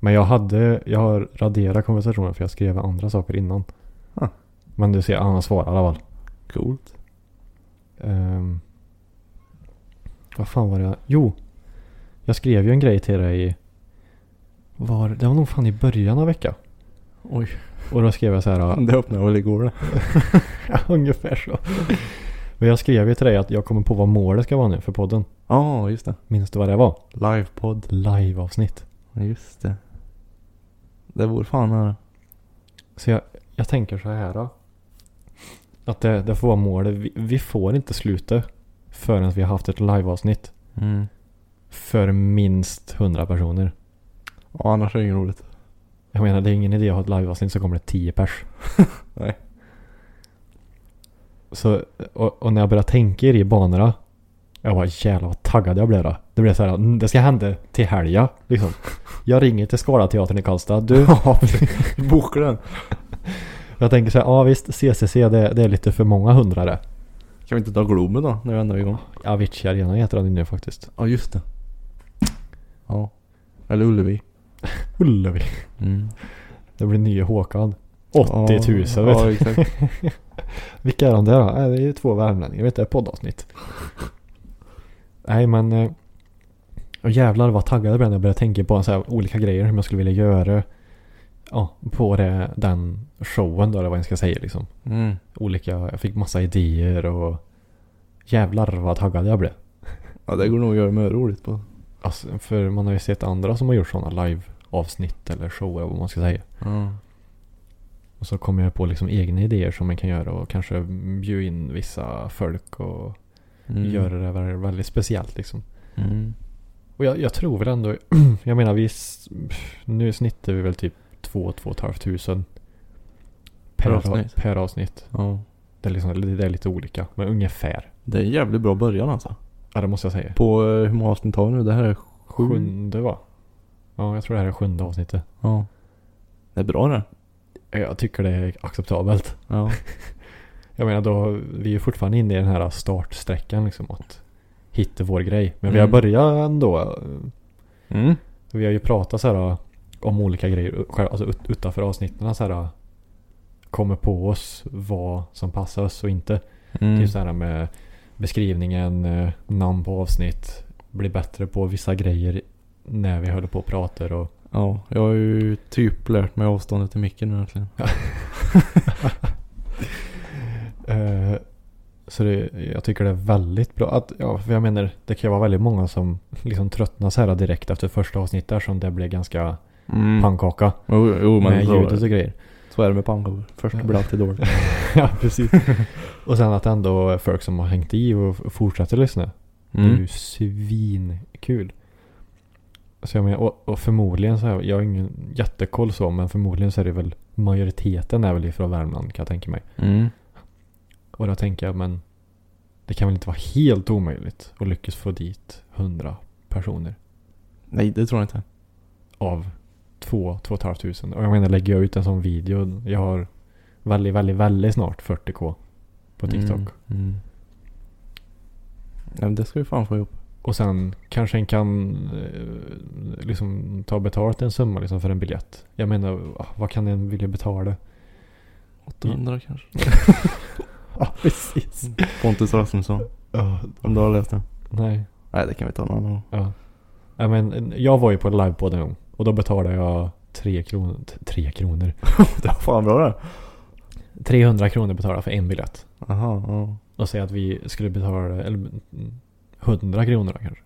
S1: Men jag hade, jag har raderat konversationen för jag skrev andra saker innan.
S2: Ah.
S1: Men du ser, han har svarat i alla fall.
S2: Coolt.
S1: Ehm, vad fan var det? jag- Jo, jag skrev ju en grej till dig. Var, det var nog fan i början av veckan.
S2: Oj.
S1: Och då skrev jag så här. ja,
S2: Det öppnade väl igår det.
S1: Ja, ungefär så. Men jag skrev ju till dig att jag kommer på vad målet ska vara nu för podden.
S2: Ja, just det.
S1: Minns du vad det var?
S2: Livepodd.
S1: Liveavsnitt.
S2: Ja, Just det. Det vore fan nära.
S1: Så jag, jag tänker så här då. Att det, det får vara målet. Vi, vi får inte sluta förrän vi har haft ett liveavsnitt.
S2: Mm.
S1: För minst 100 personer.
S2: Ja, annars är det inget roligt.
S1: Jag menar det är ingen idé att ha ett liveavsnitt så kommer det 10 pers.
S2: Nej.
S1: Så, och, och när jag började tänka i de banorna. Jag var jävlar vad taggad jag blev då. Det blev så här, "Mm, det ska hända till helga liksom. Jag ringer till Skala teatern i Karlstad. Du,
S2: Boka den.
S1: jag tänker så här, ja visst CCC det, det är lite för många hundrade.
S2: Kan vi inte ta Globen då, när vi ändå är igång?
S1: Avicii Arena heter den ju nu faktiskt.
S2: Ja, just det. Ja. Eller Ullevi.
S1: Ullevi.
S2: Mm.
S1: Det blir nya Håkan. 80 000 vet du.
S2: Ja, exakt.
S1: Vilka är de där då? Äh, Det är ju två värmlänningar. Vet du, ett poddavsnitt. Nej men... eh, Och jävlar vad taggad jag blev när jag började tänka på så här, olika grejer som jag skulle vilja göra. Ja, på det, den showen då eller vad jag ska säga liksom.
S2: Mm.
S1: Olika, jag fick massa idéer och... Jävlar vad taggad jag blev.
S2: Ja, det går nog att göra mer roligt på.
S1: Alltså, för man har ju sett andra som har gjort sådana live-avsnitt eller shower vad man ska säga.
S2: Ja.
S1: Och så kommer jag på liksom egna idéer som man kan göra och kanske bjuda in vissa folk och
S2: Mm.
S1: göra det vä- väldigt speciellt liksom.
S2: Mm.
S1: Och jag, jag tror väl ändå, jag menar vi, s- pff, nu snittar vi väl typ 2-2,5 tusen.
S2: Per
S1: av-
S2: avsnitt.
S1: Per avsnitt.
S2: Ja.
S1: Det är, liksom, det det är lite olika, men ungefär.
S2: Det är en jävligt bra början alltså.
S1: Ja det måste jag säga.
S2: På eh, hur många avsnitt har vi nu? Det här är sju.
S1: Sjunde va? Ja jag tror det här är sjunde avsnittet.
S2: Ja. Det är bra det.
S1: Jag tycker det är acceptabelt.
S2: Ja.
S1: Jag menar då, vi är ju fortfarande inne i den här startsträckan liksom att hitta vår grej. Men vi har
S2: Mm.
S1: börjat ändå.
S2: Mm.
S1: Vi har ju pratat så här om olika grejer själv- alltså ut- utanför avsnitten så här kommer på oss vad som passar oss och inte.
S2: Mm.
S1: Typ så här med beskrivningen, eh, namn på avsnitt, bli bättre på vissa grejer när vi håller på och pratar och
S2: Ja, jag har ju typ lärt mig avståndet till micken nu egentligen.
S1: Eh, Så det, jag tycker det är väldigt bra. Att, ja, för jag menar, det kan ju vara väldigt många som liksom tröttnar så här direkt efter första avsnittet som det blev ganska
S2: Mm.
S1: pannkaka
S2: Jo, jo men
S1: med
S2: så var
S1: ljudet
S2: det.
S1: och grejer.
S2: Så är det med pannkakor. Först blir det alltid dåligt.
S1: ja, precis. och sen att det ändå är folk som har hängt i och f- fortsätter lyssna.
S2: Mm.
S1: Det är ju svinkul. Så jag menar, och, och förmodligen så här, jag har ingen jättekoll så, men förmodligen så är det väl majoriteten är väl ifrån Värmland kan jag tänka mig.
S2: Mm.
S1: Och då tänker jag, men det kan väl inte vara helt omöjligt att lyckas få dit 100 personer
S2: Nej, det tror jag inte.
S1: av 2 två och ett halvt tusen. Och jag menar, lägger jag ut en sån video, jag har väldigt, väldigt, väldigt snart 40k på TikTok.
S2: Mm. Mm. Ja, men det ska vi fan få ihop.
S1: Och sen kanske en kan eh, liksom ta betalt en summa liksom för en biljett. Jag menar, ah, vad kan en vilja betala?
S2: 800 kanske.
S1: Ja, precis.
S2: Pontus Rasmusson. Om du har läst den.
S1: Nej.
S2: Nej, det kan vi ta någon annan gång.
S1: Ja. Ja, men, eh, jag var ju på en livepodd en gång och då betalade jag 3 kronor. t- tre kronor.
S2: Det var fan bra det.
S1: 300 kronor betalade jag för en biljett.
S2: Jaha, ja.
S1: Och säg att vi skulle betala eller, mm, 100 kronor då kanske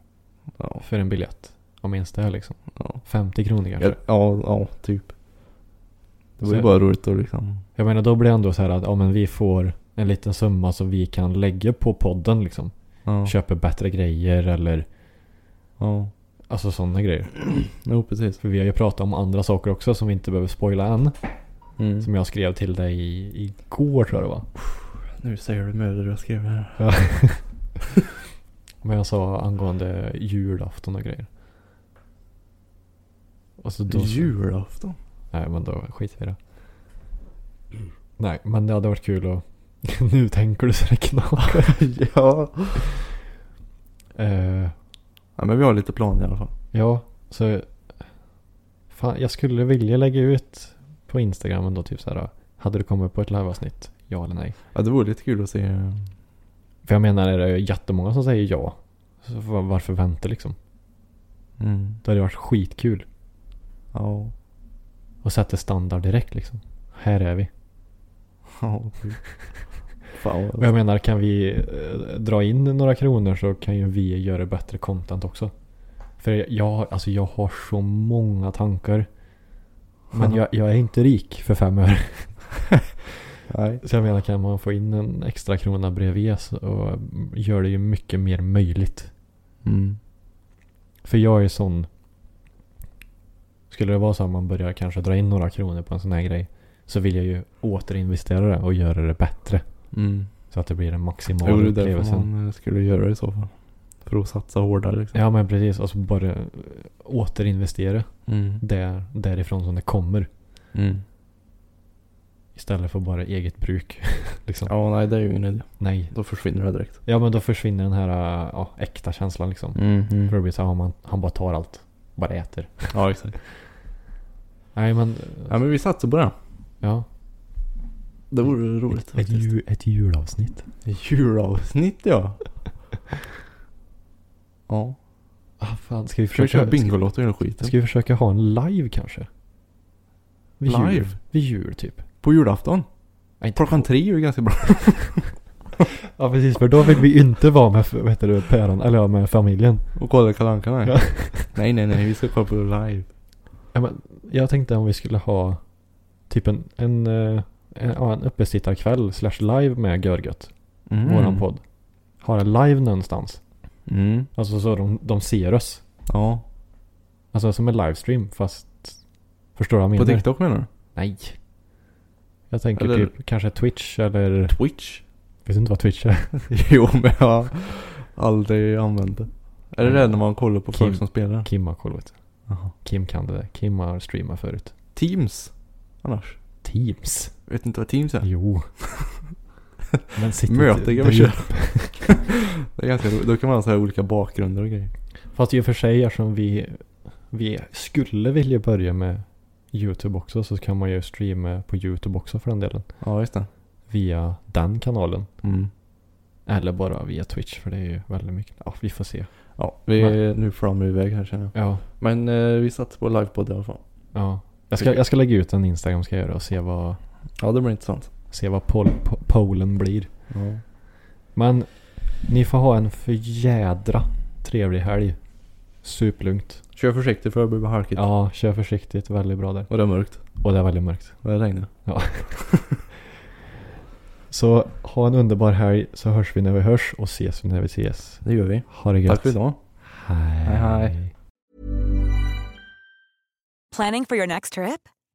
S2: Ja,
S1: för en biljett. Om ens det här liksom.
S2: ja.
S1: 50 kronor kanske.
S2: Ja, ja, ja, typ. Det var ju
S1: Så-
S2: bara roligt att liksom...
S1: Jag menar då blir det ändå så här att ja, men vi får en liten summa som vi kan lägga på podden liksom.
S2: Ja,
S1: köper bättre grejer eller
S2: ja.
S1: alltså sådana grejer.
S2: Jo, precis.
S1: För vi har ju pratat om andra saker också som vi inte behöver spoila än.
S2: Mm.
S1: Som jag skrev till dig i- igår tror jag det var.
S2: Nu säger du med det jag skrev här.
S1: Men jag sa angående julafton och grejer. Och så då,
S2: Julafton?
S1: Nej men då skiter vi i det. Nej men det hade varit kul att... nu tänker du så det knakar.
S2: ja.
S1: Eh,
S2: ja. men vi har lite planer i alla fall.
S1: ja, så... Fan, jag skulle vilja lägga ut på Instagram ändå typ så här. Hade du kommit på ett liveavsnitt? Ja eller nej?
S2: Ja, det vore lite kul att se. eh,
S1: För jag menar är det jättemånga som säger ja. Så va- varför vänta liksom?
S2: Mm.
S1: Då hade det varit skitkul.
S2: Ja.
S1: Och sätter standard direkt liksom. Här är vi.
S2: Ja, typ. Fan
S1: Och
S2: vad...
S1: jag menar kan vi eh, dra in några kronor så kan ju vi göra bättre content också. För jag- jag, alltså jag har så många tankar. Men jag, jag är inte rik för fem öre.
S2: Nej.
S1: Så jag menar kan man få in en extra krona bredvid så och gör det ju mycket mer möjligt.
S2: Mm.
S1: För jag är sån. Skulle det vara så att man börjar kanske dra in några kronor på en sån här grej. Så vill jag ju återinvestera det och göra det bättre.
S2: Mm.
S1: Så att det blir en maximal
S2: Jo, det är
S1: upplevelse.
S2: därför man eh, skulle göra det i så fall. För att satsa hårdare liksom.
S1: Ja men precis. Alltså bara eh, återinvestera
S2: Mm.
S1: där, därifrån som det kommer.
S2: Mm.
S1: Istället för bara eget bruk. liksom.
S2: Ja, nej det är ju ingen idé.
S1: Nej.
S2: Då försvinner det direkt.
S1: Ja men då försvinner den här eh, ja, äkta känslan liksom.
S2: Mm.
S1: För det blir så här, ja, man, han bara tar allt. Bara äter.
S2: Ja, exakt.
S1: Nej men.
S2: Ja, men vi satsar på det.
S1: Ja.
S2: Det vore roligt
S1: Ett,
S2: faktiskt.
S1: ju, ett julavsnitt.
S2: Julavsnitt ja. ja.
S1: Ah, fan. Ska vi
S2: Försök
S1: försöka
S2: köra Bingolotto och hela skiten.
S1: Ska vi försöka ha en live kanske? Vid Jul.
S2: Live?
S1: Vid jul typ.
S2: På julafton?
S1: Nej, inte-
S2: Klockan tre är ju ganska bra.
S1: Ja precis, för då vill vi inte vara med, vad heter det, päron, eller ja, med familjen.
S2: Och kolla Kalle Anka nej.
S1: Ja.
S2: nej nej nej, vi ska kolla på live.
S1: Ja, men jag tänkte om vi skulle ha typ en, en, eh, en, ja, en uppesittarkväll slash live med Görgött,
S2: Mm.
S1: våran podd. Ha det live någonstans.
S2: Mm.
S1: Alltså så de, de ser oss.
S2: Ja.
S1: Alltså som en livestream fast, förstår du vad jag
S2: På
S1: menar?
S2: TikTok menar du?
S1: Nej. Jag tänker
S2: Eller-
S1: typ kanske Twitch eller,
S2: Twitch?
S1: vet inte vad Twitch är?
S2: jo men jag har aldrig använt det. Är det det när man kollar på folk
S1: Kim.
S2: som spelar?
S1: Kim har koll vet du.
S2: Jaha.
S1: Kim kan det där. Kim har streamat förut.
S2: Teams? Annars?
S1: Teams?
S2: Vet inte vad Teams är?
S1: Jo. Men sitter
S2: Möte kan
S1: där
S2: vi
S1: ju-
S2: köra. det är ganska roligt. Då kan man ha så här olika bakgrunder och grejer.
S1: Fast i och för sig eftersom vi, vi skulle vilja börja med YouTube också så kan man ju streama på YouTube också för den delen.
S2: Ja just det.
S1: Via den kanalen.
S2: Mm.
S1: Eller bara via Twitch för det är ju väldigt mycket. Ja, vi får se.
S2: Ja, vi är nu fram och iväg här känner jag.
S1: Ja.
S2: Men eh, vi satt på livepodd i alla fall.
S1: ja. Jag, ska, jag ska lägga ut en Instagram ska jag göra och se vad,
S2: Ja, det blir intressant.
S1: se vad pol, po, polen blir.
S2: Ja.
S1: Men ni får ha en förjädra trevlig helg. Sup lugnt.
S2: Kör försiktigt för det blir halkigt.
S1: Ja, kör försiktigt. Väldigt bra där.
S2: Och det är mörkt.
S1: Och det är väldigt mörkt.
S2: Det regnar.
S1: Så ha en underbar helg så hörs vi när vi hörs och ses vi när vi ses.
S2: Det gör vi.
S1: Ha det gött.
S2: Tack för idag.
S1: Hej.
S2: hej.
S4: Planning for your next trip?